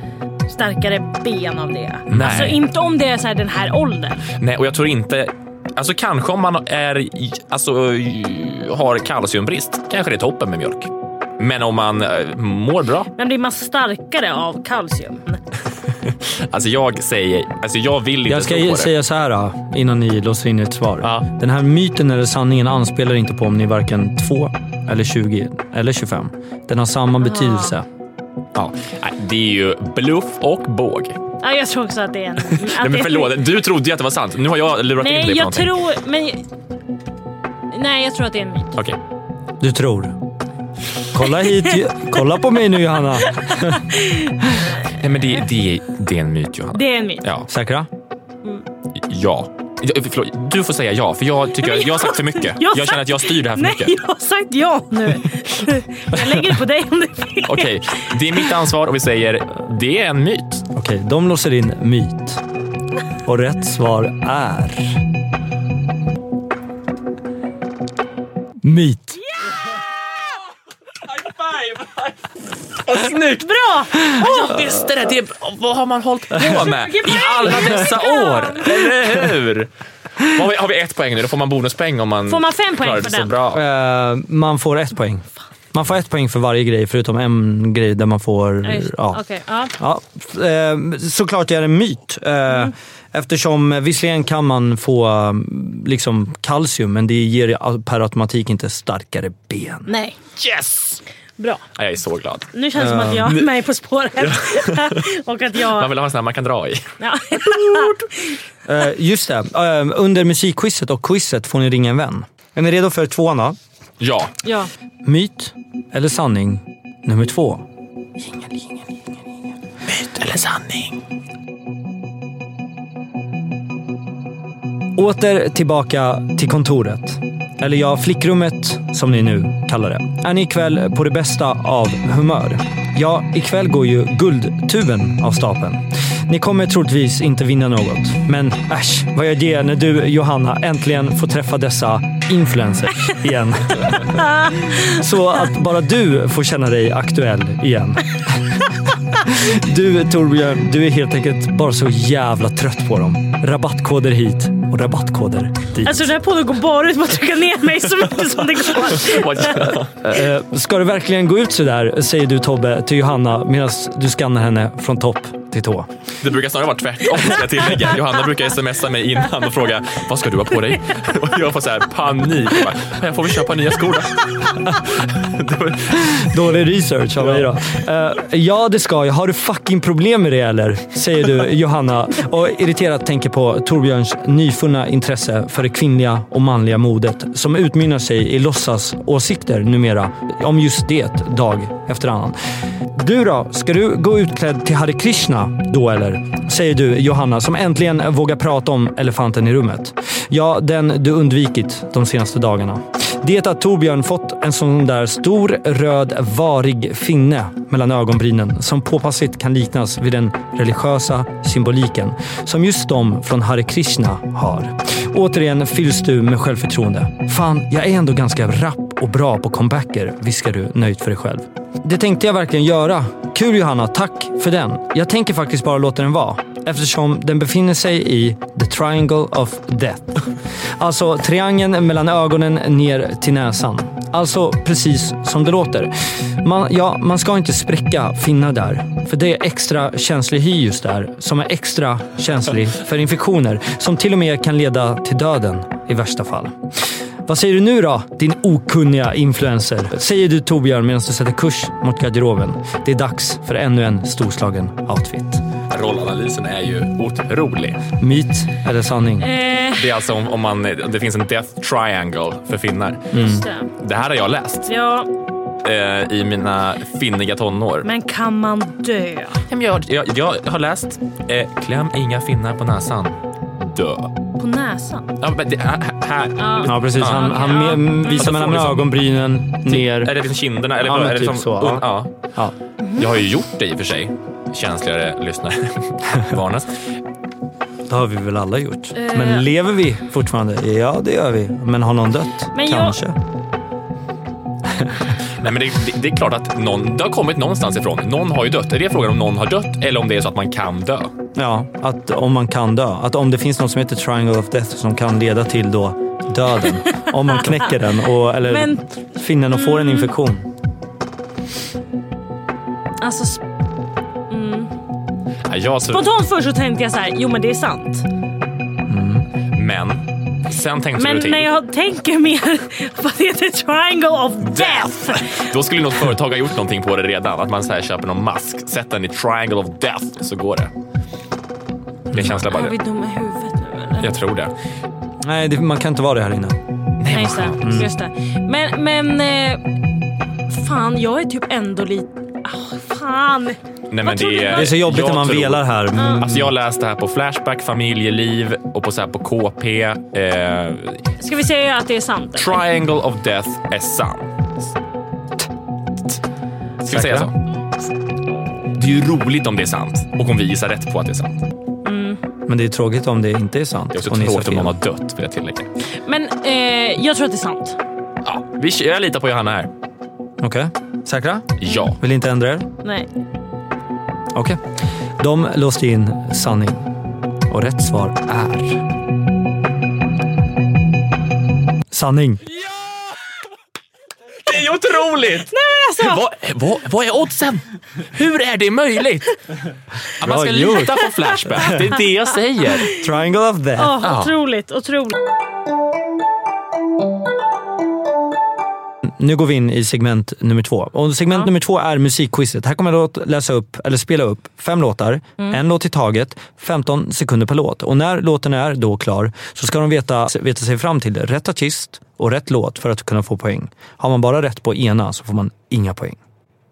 [SPEAKER 3] starkare ben av det.
[SPEAKER 4] Nej.
[SPEAKER 3] Alltså inte om det är så här den här åldern.
[SPEAKER 4] Nej, och jag tror inte... Alltså kanske om man är, i- alltså, i- har kalciumbrist, kanske det är toppen med mjölk. Men om man eh, mår bra.
[SPEAKER 3] Men blir man starkare av kalcium?
[SPEAKER 4] Alltså jag säger, alltså jag vill inte
[SPEAKER 1] Jag
[SPEAKER 4] tro på
[SPEAKER 1] ska
[SPEAKER 4] det.
[SPEAKER 1] säga så här då, innan ni låser in ert svar.
[SPEAKER 4] Ja.
[SPEAKER 1] Den här myten eller sanningen anspelar inte på om ni är varken 2 eller 20 eller 25. Den har samma betydelse.
[SPEAKER 4] Ja. Nej, det är ju bluff och båg.
[SPEAKER 3] Ja, jag tror också att det är en... Att
[SPEAKER 4] Nej,
[SPEAKER 3] det
[SPEAKER 4] men
[SPEAKER 3] är-
[SPEAKER 4] förlåt, du trodde ju att det var sant. Nu har jag lurat in dig på
[SPEAKER 3] Nej jag
[SPEAKER 4] någonting.
[SPEAKER 3] tror... Men, nej jag tror att det är en myt.
[SPEAKER 4] Okej.
[SPEAKER 1] Du tror. Kolla hit. Kolla på mig nu Johanna.
[SPEAKER 4] Nej, men det, det, det är en myt, Johanna.
[SPEAKER 3] Det är en myt.
[SPEAKER 4] Ja.
[SPEAKER 1] Säkra?
[SPEAKER 4] ja. Ja, Förlåt, du får säga ja, för jag tycker
[SPEAKER 3] Nej, men
[SPEAKER 4] jag, har sagt för mycket. Jag,
[SPEAKER 3] sagt-
[SPEAKER 4] känner att jag styr det här för
[SPEAKER 3] Nej,
[SPEAKER 4] mycket.
[SPEAKER 3] jag har sagt ja nu. jag lägger det på dig om det är fel.
[SPEAKER 4] Okej, det är mitt ansvar och vi säger det är en myt.
[SPEAKER 1] Okej, de låser in myt. Och rätt svar är... Myt.
[SPEAKER 4] Snyggt!
[SPEAKER 3] Bra!
[SPEAKER 4] Jag visste det! det vad har man hållit på med
[SPEAKER 3] Vilken
[SPEAKER 4] i
[SPEAKER 3] poäng!
[SPEAKER 4] alla dessa år? Eller hur? Har vi, har vi ett poäng nu, då får man bonuspeng om man
[SPEAKER 3] Får man fem poäng
[SPEAKER 4] klarar det
[SPEAKER 3] för
[SPEAKER 4] så
[SPEAKER 3] den?
[SPEAKER 4] Bra.
[SPEAKER 1] Eh, man får ett poäng. Man får ett poäng för varje grej förutom en grej där man får...
[SPEAKER 3] Nej, just-
[SPEAKER 1] Ja.
[SPEAKER 3] Okej, ja.
[SPEAKER 1] Ja, eh, såklart är det en myt. Eh, Eftersom eh, visserligen kan man få eh, liksom, kalcium men det ger per automatik inte starkare ben.
[SPEAKER 3] Nej.
[SPEAKER 4] Yes!
[SPEAKER 3] Bra.
[SPEAKER 4] Nej, jag är så glad.
[SPEAKER 3] Nu känns det som att jag är med På spåret. och att
[SPEAKER 4] Man
[SPEAKER 3] jag...
[SPEAKER 4] vill ha en sån här man kan dra i.
[SPEAKER 3] Ja.
[SPEAKER 1] Eh, just det. Eh, under musikquizet och quizet får ni ringa en vän. Är ni redo för tvåan då?
[SPEAKER 4] Ja.
[SPEAKER 3] ja.
[SPEAKER 1] Myt eller sanning nummer två.
[SPEAKER 4] Eller sanning.
[SPEAKER 1] Åter tillbaka till kontoret. Eller ja, flickrummet som ni nu kallar det. Är ni ikväll på det bästa av humör? Ja, ikväll går ju guldtuben av stapeln. Ni kommer troligtvis inte vinna något. Men äsch, vad gör det när du, Johanna, äntligen får träffa dessa influencers igen? Så att bara du får känna dig aktuell igen. Du Torbjörn, du är helt enkelt bara så jävla trött på dem. Rabattkoder hit och rabattkoder dit.
[SPEAKER 3] Alltså den här podden går bara ut på att trycka ner mig så mycket som det går.
[SPEAKER 1] Eh, ska du verkligen gå ut sådär, säger du Tobbe till Johanna medan du skannar henne från topp till tå.
[SPEAKER 4] Det brukar snarare vara tvärtom ska jag tillägga. Johanna brukar smsa mig innan och fråga vad ska du ha på dig? Och jag får så här panik. Jag bara, Jag får väl köpa nya skor då. Det var-
[SPEAKER 1] Dålig research av mig då. Eh, ja, det ska jag. Har du fucking problem med det eller? Säger du Johanna och irriterat tänker på Torbjörns nyfunna intresse för det kvinnliga och manliga modet som utmynnar sig i låtsas åsikter numera om just det dag efter annan. Du då? Ska du gå utklädd till Hare Krishna då eller? Säger du Johanna som äntligen vågar prata om elefanten i rummet. Ja, den du undvikit de senaste dagarna. Det att Torbjörn fått en sån där stor, röd, varig finne mellan ögonbrynen som påpassligt kan liknas vid den religiösa symboliken som just de från Hare Krishna har. Återigen fylls du med självförtroende. Fan, jag är ändå ganska rapp och bra på comebacker, viskar du nöjt för dig själv. Det tänkte jag verkligen göra. Kul Johanna, tack för den. Jag tänker faktiskt bara låta den vara eftersom den befinner sig i the triangle of death. Alltså triangeln mellan ögonen ner till näsan. Alltså precis som det låter. Man, ja, man ska inte spräcka finnar där. För det är extra känslig hy just där som är extra känslig för infektioner som till och med kan leda till döden i värsta fall. Vad säger du nu då, din okunniga influencer? Säger du Torbjörn medan du sätter kurs mot garderoben. Det är dags för ännu en storslagen outfit.
[SPEAKER 4] Rollanalysen är ju otrolig.
[SPEAKER 1] Myt eller sanning?
[SPEAKER 3] Eh,
[SPEAKER 4] Det är alltså om, om man, det finns en death triangle för finnar.
[SPEAKER 3] just det.
[SPEAKER 4] Det här har jag läst
[SPEAKER 3] Ja,
[SPEAKER 4] eh, i mina finniga tonår.
[SPEAKER 3] men kan man dö?
[SPEAKER 4] Men Jag, jag, jag har läst eh, kläm inga finnar på näsan. Dö.
[SPEAKER 3] På näsan?
[SPEAKER 4] Ja, men det, här, här.
[SPEAKER 1] Ja precis, han,
[SPEAKER 3] Ja. Typ
[SPEAKER 1] han me-
[SPEAKER 3] Mm.
[SPEAKER 1] visar
[SPEAKER 4] Ja,
[SPEAKER 1] mellan
[SPEAKER 4] då får vi som-
[SPEAKER 1] ögonbrynen
[SPEAKER 4] Är
[SPEAKER 1] ner.
[SPEAKER 4] det liksom kinderna? Eller,
[SPEAKER 1] Ja,
[SPEAKER 4] vad-
[SPEAKER 1] men
[SPEAKER 4] är det
[SPEAKER 1] typ
[SPEAKER 4] som,
[SPEAKER 1] så, ja.
[SPEAKER 4] un, ja.
[SPEAKER 1] Ja.
[SPEAKER 4] Jag har ju gjort det i och för sig. Känsligare lyssnare varnas.
[SPEAKER 1] Det har vi väl alla gjort.
[SPEAKER 3] Eh.
[SPEAKER 1] Men lever vi fortfarande? Ja det gör vi. Men har någon dött?
[SPEAKER 3] Men jag-
[SPEAKER 1] Kanske.
[SPEAKER 4] Nej, men det, det, det är klart att någon, det har kommit någonstans ifrån. Någon har ju dött. Är det frågan om någon har dött eller om det är så att man kan dö?
[SPEAKER 1] Ja, att om man kan dö. Att om det finns något som heter Triangle of Death som kan leda till då döden. om man knäcker den och, eller
[SPEAKER 3] Men-
[SPEAKER 1] finner den och får en infektion.
[SPEAKER 3] Alltså sp-
[SPEAKER 4] Ja, jag, så,
[SPEAKER 3] spontant först så tänkte jag så här, jo men det är sant.
[SPEAKER 4] men sen tänkte
[SPEAKER 3] Men
[SPEAKER 4] du till.
[SPEAKER 3] när jag tänker mer på att det heter Triangle of Death.
[SPEAKER 4] Då skulle något företag ha gjort någonting på det redan. Att man så här köper någon mask, sätter den i triangle of death så går det. Det är en känsla bara.
[SPEAKER 3] Är vi dumma i huvudet nu eller?
[SPEAKER 4] Jag tror det.
[SPEAKER 1] Nej, det, man kan inte vara det här inne.
[SPEAKER 3] Nej, just
[SPEAKER 4] mm.
[SPEAKER 3] det. Just det. Men, men... Eh, fan, jag är typ ändå lite... Ah, fan!
[SPEAKER 4] Nej, men
[SPEAKER 3] Vad tror
[SPEAKER 4] det,
[SPEAKER 3] du?
[SPEAKER 4] är-
[SPEAKER 1] Det är så jobbigt
[SPEAKER 4] jag
[SPEAKER 1] när man
[SPEAKER 4] tror-
[SPEAKER 1] velar här. Mm.
[SPEAKER 4] Alltså jag har läst det här på Flashback, Familjeliv och på, så här på KP. Eh,
[SPEAKER 3] Ska vi säga att det är sant? eller?
[SPEAKER 4] triangle of death är sant. Ska vi säga så? Det är ju roligt om det är sant och om vi gissar rätt på att det är sant.
[SPEAKER 1] Men det är tråkigt om det inte är sant.
[SPEAKER 4] Det är också
[SPEAKER 1] och ni
[SPEAKER 4] tråkigt
[SPEAKER 1] sa
[SPEAKER 4] om någon
[SPEAKER 1] fel.
[SPEAKER 4] har dött, vill jag tillägga.
[SPEAKER 3] Men eh, jag tror att det är sant.
[SPEAKER 4] Ja, vi, jag litar på Johanna här.
[SPEAKER 1] Okej. Säkra?
[SPEAKER 4] Ja.
[SPEAKER 1] Vill inte ändra er?
[SPEAKER 3] Nej.
[SPEAKER 1] Okej. De låste in sanning. Och rätt svar är... Sanning.
[SPEAKER 4] Det är ju otroligt!
[SPEAKER 3] Alltså,
[SPEAKER 4] Vad, vad, vad är oddsen? Hur är det möjligt? Att man
[SPEAKER 1] Bra
[SPEAKER 4] ska
[SPEAKER 1] gjort.
[SPEAKER 4] lita på Flashback, det är det jag säger.
[SPEAKER 1] Triangle of death.
[SPEAKER 3] åh,
[SPEAKER 4] Ja.
[SPEAKER 3] otroligt, otroligt.
[SPEAKER 1] nu går vi in i segment nummer två. Och segment nummer två är musikquizet. Här kommer jag att läsa upp, eller spela upp fem låtar,
[SPEAKER 3] Mm.
[SPEAKER 1] en låt i taget, 15 sekunder per låt. Och när låten är då klar så ska de veta, veta sig fram till rätt artist och rätt låt för att kunna få poäng. Har man bara rätt på ena så får man inga poäng.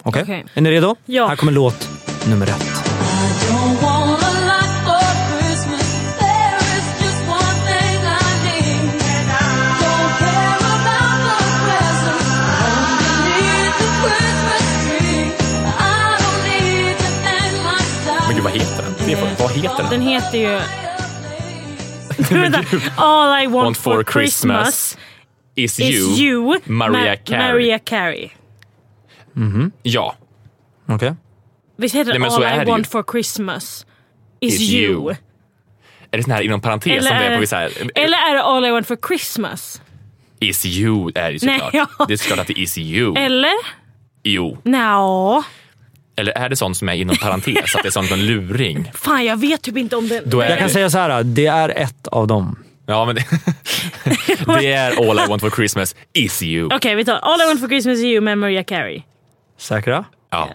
[SPEAKER 1] Okej?
[SPEAKER 3] Okej.
[SPEAKER 1] Är ni redo?
[SPEAKER 3] Ja.
[SPEAKER 1] Här kommer låt nummer ett.
[SPEAKER 4] Men gud, vad heter den? Det är för, vad heter den?
[SPEAKER 3] Den heter ju... Vänta. All I want,
[SPEAKER 4] Want
[SPEAKER 3] for Christmas,
[SPEAKER 4] Is
[SPEAKER 3] is you,
[SPEAKER 4] Mariah
[SPEAKER 3] Ma-
[SPEAKER 4] Carey.
[SPEAKER 3] Mariah Carey.
[SPEAKER 4] Ja.
[SPEAKER 1] Okej?
[SPEAKER 3] Visst heter
[SPEAKER 4] Nej,
[SPEAKER 3] den
[SPEAKER 4] men så är
[SPEAKER 3] All
[SPEAKER 4] det
[SPEAKER 3] I
[SPEAKER 4] ju.
[SPEAKER 3] want for Christmas is,
[SPEAKER 4] Is
[SPEAKER 3] you?
[SPEAKER 4] you. Är det sån här inom parentes
[SPEAKER 3] Eller
[SPEAKER 4] som
[SPEAKER 3] är
[SPEAKER 4] det är på
[SPEAKER 3] det-
[SPEAKER 4] vissa här?
[SPEAKER 3] Eller är det All I want for Christmas?
[SPEAKER 4] Is you E är det ju
[SPEAKER 3] Nej,
[SPEAKER 4] såklart.
[SPEAKER 3] ja.
[SPEAKER 4] Det är såklart att det är is you.
[SPEAKER 3] Eller?
[SPEAKER 4] Jo.
[SPEAKER 3] Nja.
[SPEAKER 4] Eller är det sånt som är inom parentes? att det är sånt en luring?
[SPEAKER 3] Fan, jag vet typ inte om den...
[SPEAKER 4] Då är
[SPEAKER 1] Jag kan
[SPEAKER 4] det-
[SPEAKER 1] säga så här, det är ett av dem.
[SPEAKER 4] Ja, men det, det är all I want for Christmas E is you.
[SPEAKER 3] Okej, vi tar All I want for Christmas is you med Mariah Carey.
[SPEAKER 1] Säkra?
[SPEAKER 4] Ja.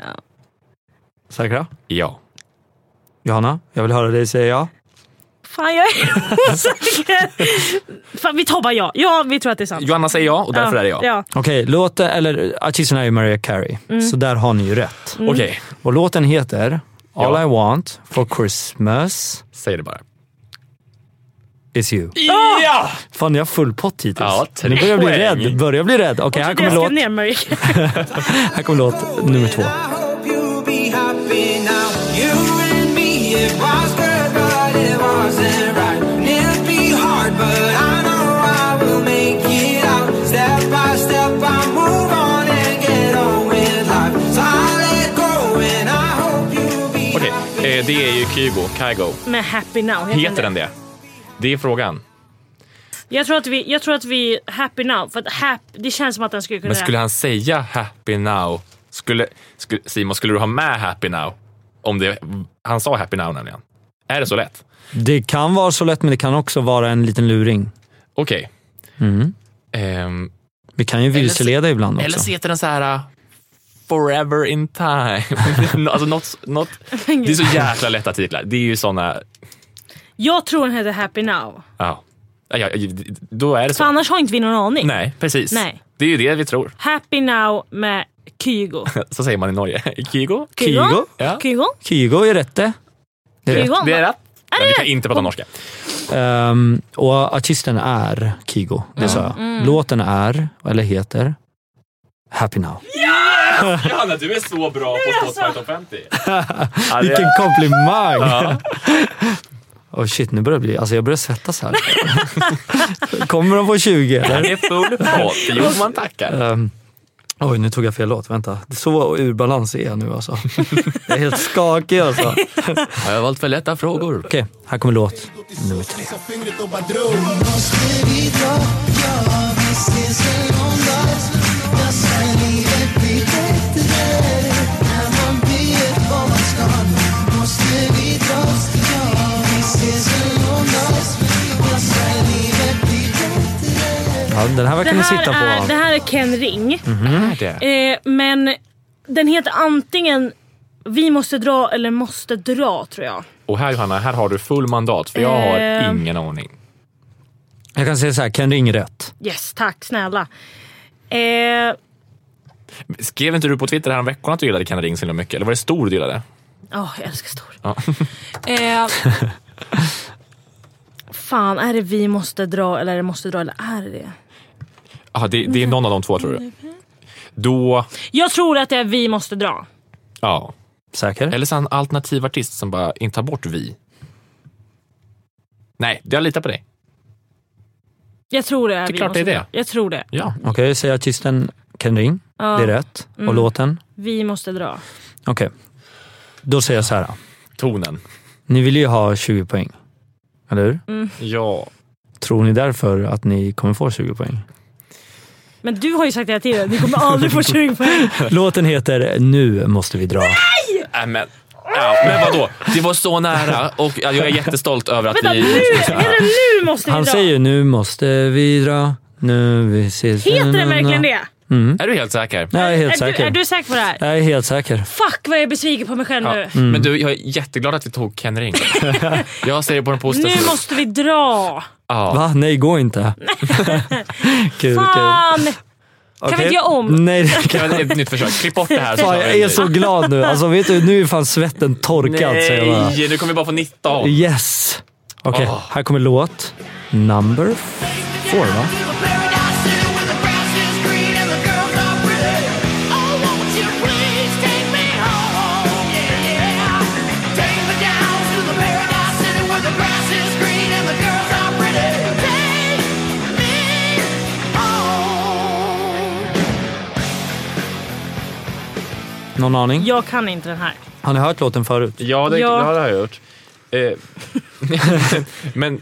[SPEAKER 1] Säkra?
[SPEAKER 4] ja.
[SPEAKER 1] Johanna, jag vill höra dig säga ja.
[SPEAKER 3] Fan, jag är osäker. Fan, vi tar bara ja. Ja, vi tror att det är sant.
[SPEAKER 4] Johanna säger ja och därför är det jag.
[SPEAKER 3] Ja.
[SPEAKER 1] Okej, låten, eller artisten är ju Mariah Carey, så där har ni ju rätt.
[SPEAKER 3] Mm.
[SPEAKER 4] Okej,
[SPEAKER 1] Och låten heter All
[SPEAKER 4] Ja.
[SPEAKER 1] I want for Christmas
[SPEAKER 4] säg det bara.
[SPEAKER 1] is you.
[SPEAKER 4] Ja!
[SPEAKER 1] Fan, jag har full pott hittills.
[SPEAKER 4] Ja, tre
[SPEAKER 1] nu börjar jag bli
[SPEAKER 4] poäng.
[SPEAKER 1] rädd. Börjar jag bli rädd. Okej, här,
[SPEAKER 3] Jag
[SPEAKER 1] kommer
[SPEAKER 3] ska
[SPEAKER 1] låt-
[SPEAKER 3] ner Mariah Carey.
[SPEAKER 1] här kommer låt nummer två.
[SPEAKER 5] I hope you'll be happy now. You and me, it was good, but it wasn't right. And it'll be hard, but I know I will make it out. Step by step, I move on and get on with life. So I let go, and I hope you'll be
[SPEAKER 4] Okej, eh, det är ju Kygo, Kygo.
[SPEAKER 3] Med Happy Now.
[SPEAKER 4] Heter den det? Det är frågan.
[SPEAKER 3] Jag tror, att vi, jag tror att vi Happy Now, för att hap, det känns som att den skulle kunna...
[SPEAKER 4] Men skulle han säga happy now? Skulle, skulle, Simon, skulle du ha med happy now? Om det, han sa happy now nämligen. Är det så lätt?
[SPEAKER 1] Det kan vara så lätt, men det kan också vara en liten luring.
[SPEAKER 4] Okej. Ehm,
[SPEAKER 1] Vi kan ju vilseleda ibland också.
[SPEAKER 4] eller så heter den så här uh, forever in time. alltså något, något, det är så jäkla lätta titlar. Det är ju såna,
[SPEAKER 3] Jag tror den heter Happy Now.
[SPEAKER 4] ja. Ja, ja, då är det
[SPEAKER 3] För
[SPEAKER 4] så.
[SPEAKER 3] annars har inte vi någon aning.
[SPEAKER 4] Nej, precis.
[SPEAKER 3] Nej.
[SPEAKER 4] Det är ju det vi tror.
[SPEAKER 3] Happy Now med Kygo.
[SPEAKER 4] Så säger man i Norge. Kygo?
[SPEAKER 1] Kygo?
[SPEAKER 4] Ja.
[SPEAKER 3] Kygo?
[SPEAKER 1] Kygo är rätt det. Det är rätt.
[SPEAKER 3] Kygo?
[SPEAKER 4] Det är rätt. Men vi kan
[SPEAKER 3] rätt?
[SPEAKER 4] inte prata norska.
[SPEAKER 1] Ehm, och artisten är Kygo, det sa jag. Låten är, eller heter, Happy Now.
[SPEAKER 4] Johanna, du är så bra på Spotify Top 50.
[SPEAKER 1] Vilken komplimang! Oh shit, nu börjar jag bli... Alltså jag börjar svettas här. Kommer de på 20
[SPEAKER 4] Han
[SPEAKER 1] eller?
[SPEAKER 4] är full pott. Jo, man tackar.
[SPEAKER 1] Ehm, oj, nu tog jag fel låt. Vänta. Så ur balans är jag nu alltså. Jag är helt skakig alltså. Okej,
[SPEAKER 4] Har jag valt för lätta frågor?
[SPEAKER 1] här kommer låt nummer tre. Ja, den här
[SPEAKER 3] Det
[SPEAKER 1] verkar ni
[SPEAKER 3] här,
[SPEAKER 1] sitta
[SPEAKER 3] är,
[SPEAKER 1] på.
[SPEAKER 3] det här är Ken Ring.
[SPEAKER 4] Är det?
[SPEAKER 3] Eh, men den heter antingen Vi måste dra eller Måste dra tror jag.
[SPEAKER 4] Och här Johanna, här har du full mandat för jag har
[SPEAKER 3] Eh.
[SPEAKER 4] ingen aning.
[SPEAKER 1] Jag kan säga så här, Ken Ring rätt.
[SPEAKER 3] Yes, tack snälla. Eh,
[SPEAKER 4] Skrev inte du på Twitter här om veckan att du gillade Ken Ring så himla mycket? Eller var det stor du gillade?
[SPEAKER 3] Åh, jag älskar stor.
[SPEAKER 4] Ja.
[SPEAKER 3] eh, fan, är det vi måste dra eller är det måste dra eller är det det?
[SPEAKER 4] Ah, det, det är någon av de två tror du? Då...
[SPEAKER 3] Jag tror att det är vi måste dra.
[SPEAKER 4] Ja.
[SPEAKER 1] Säker?
[SPEAKER 4] Eller så en alternativ artist som bara inte tar bort vi. Nej, jag litar på dig.
[SPEAKER 3] Jag tror det är
[SPEAKER 4] Det är
[SPEAKER 3] vi
[SPEAKER 4] klart
[SPEAKER 3] måste
[SPEAKER 4] det är
[SPEAKER 3] dra.
[SPEAKER 4] det.
[SPEAKER 3] Jag tror det.
[SPEAKER 4] Ja.
[SPEAKER 1] Okej, säg artisten Ken Ring.
[SPEAKER 3] Ja. Mm.
[SPEAKER 1] Det är rätt. Och låten?
[SPEAKER 3] Vi måste dra.
[SPEAKER 1] Okej. Då säger jag så här.
[SPEAKER 4] Tonen.
[SPEAKER 1] Ni vill ju ha 20 poäng. Eller hur?
[SPEAKER 3] Mm.
[SPEAKER 4] Ja.
[SPEAKER 1] Tror ni därför att ni kommer få 20 poäng?
[SPEAKER 3] Men du har ju sagt det här tidigare, ni kommer aldrig få 20 poäng.
[SPEAKER 1] Låten heter Nu måste vi dra.
[SPEAKER 4] Äh, men, ja, men vadå? Det var så nära och jag är jättestolt över att
[SPEAKER 3] Vänta, nu,
[SPEAKER 4] vi...
[SPEAKER 3] är det nu måste vi
[SPEAKER 1] Han
[SPEAKER 3] dra?
[SPEAKER 1] säger ju Nu måste vi dra. Nu vi ses.
[SPEAKER 3] Heter den verkligen det?
[SPEAKER 4] Är du helt säker?
[SPEAKER 1] Nej, jag är helt
[SPEAKER 3] är, du,
[SPEAKER 1] säker.
[SPEAKER 3] är du säker på det här?
[SPEAKER 1] Jag är helt säker.
[SPEAKER 3] Fuck vad jag är besviken på mig själv
[SPEAKER 4] Ja.
[SPEAKER 1] Mm.
[SPEAKER 3] nu.
[SPEAKER 4] Men du, jag är jätteglad att vi tog Ken Ring. jag ser det på den positiva
[SPEAKER 3] Nu
[SPEAKER 4] sidan.
[SPEAKER 3] måste vi dra.
[SPEAKER 4] Ja.
[SPEAKER 1] Va? Nej, gå inte. Gud,
[SPEAKER 3] Fan! Kan vi
[SPEAKER 1] Okej.
[SPEAKER 3] inte göra om?
[SPEAKER 1] Nej, det kan
[SPEAKER 4] Kan vi- Ett nytt försök. Klipp bort det här.
[SPEAKER 1] Fan,
[SPEAKER 4] tar vi
[SPEAKER 1] jag
[SPEAKER 4] en
[SPEAKER 1] är
[SPEAKER 4] ny.
[SPEAKER 1] så glad nu. Alltså, vet du, nu är fan svetten torkad. säger jag bara.
[SPEAKER 4] Nej, nu kommer vi bara få 19.
[SPEAKER 1] Yes! Okej,
[SPEAKER 4] Ah.
[SPEAKER 1] här kommer låt number four, va? Någon aning?
[SPEAKER 3] Jag kan inte den här.
[SPEAKER 1] Har ni hört låten förut?
[SPEAKER 4] Ja, det,
[SPEAKER 3] Ja.
[SPEAKER 4] det har jag gjort. Eh, men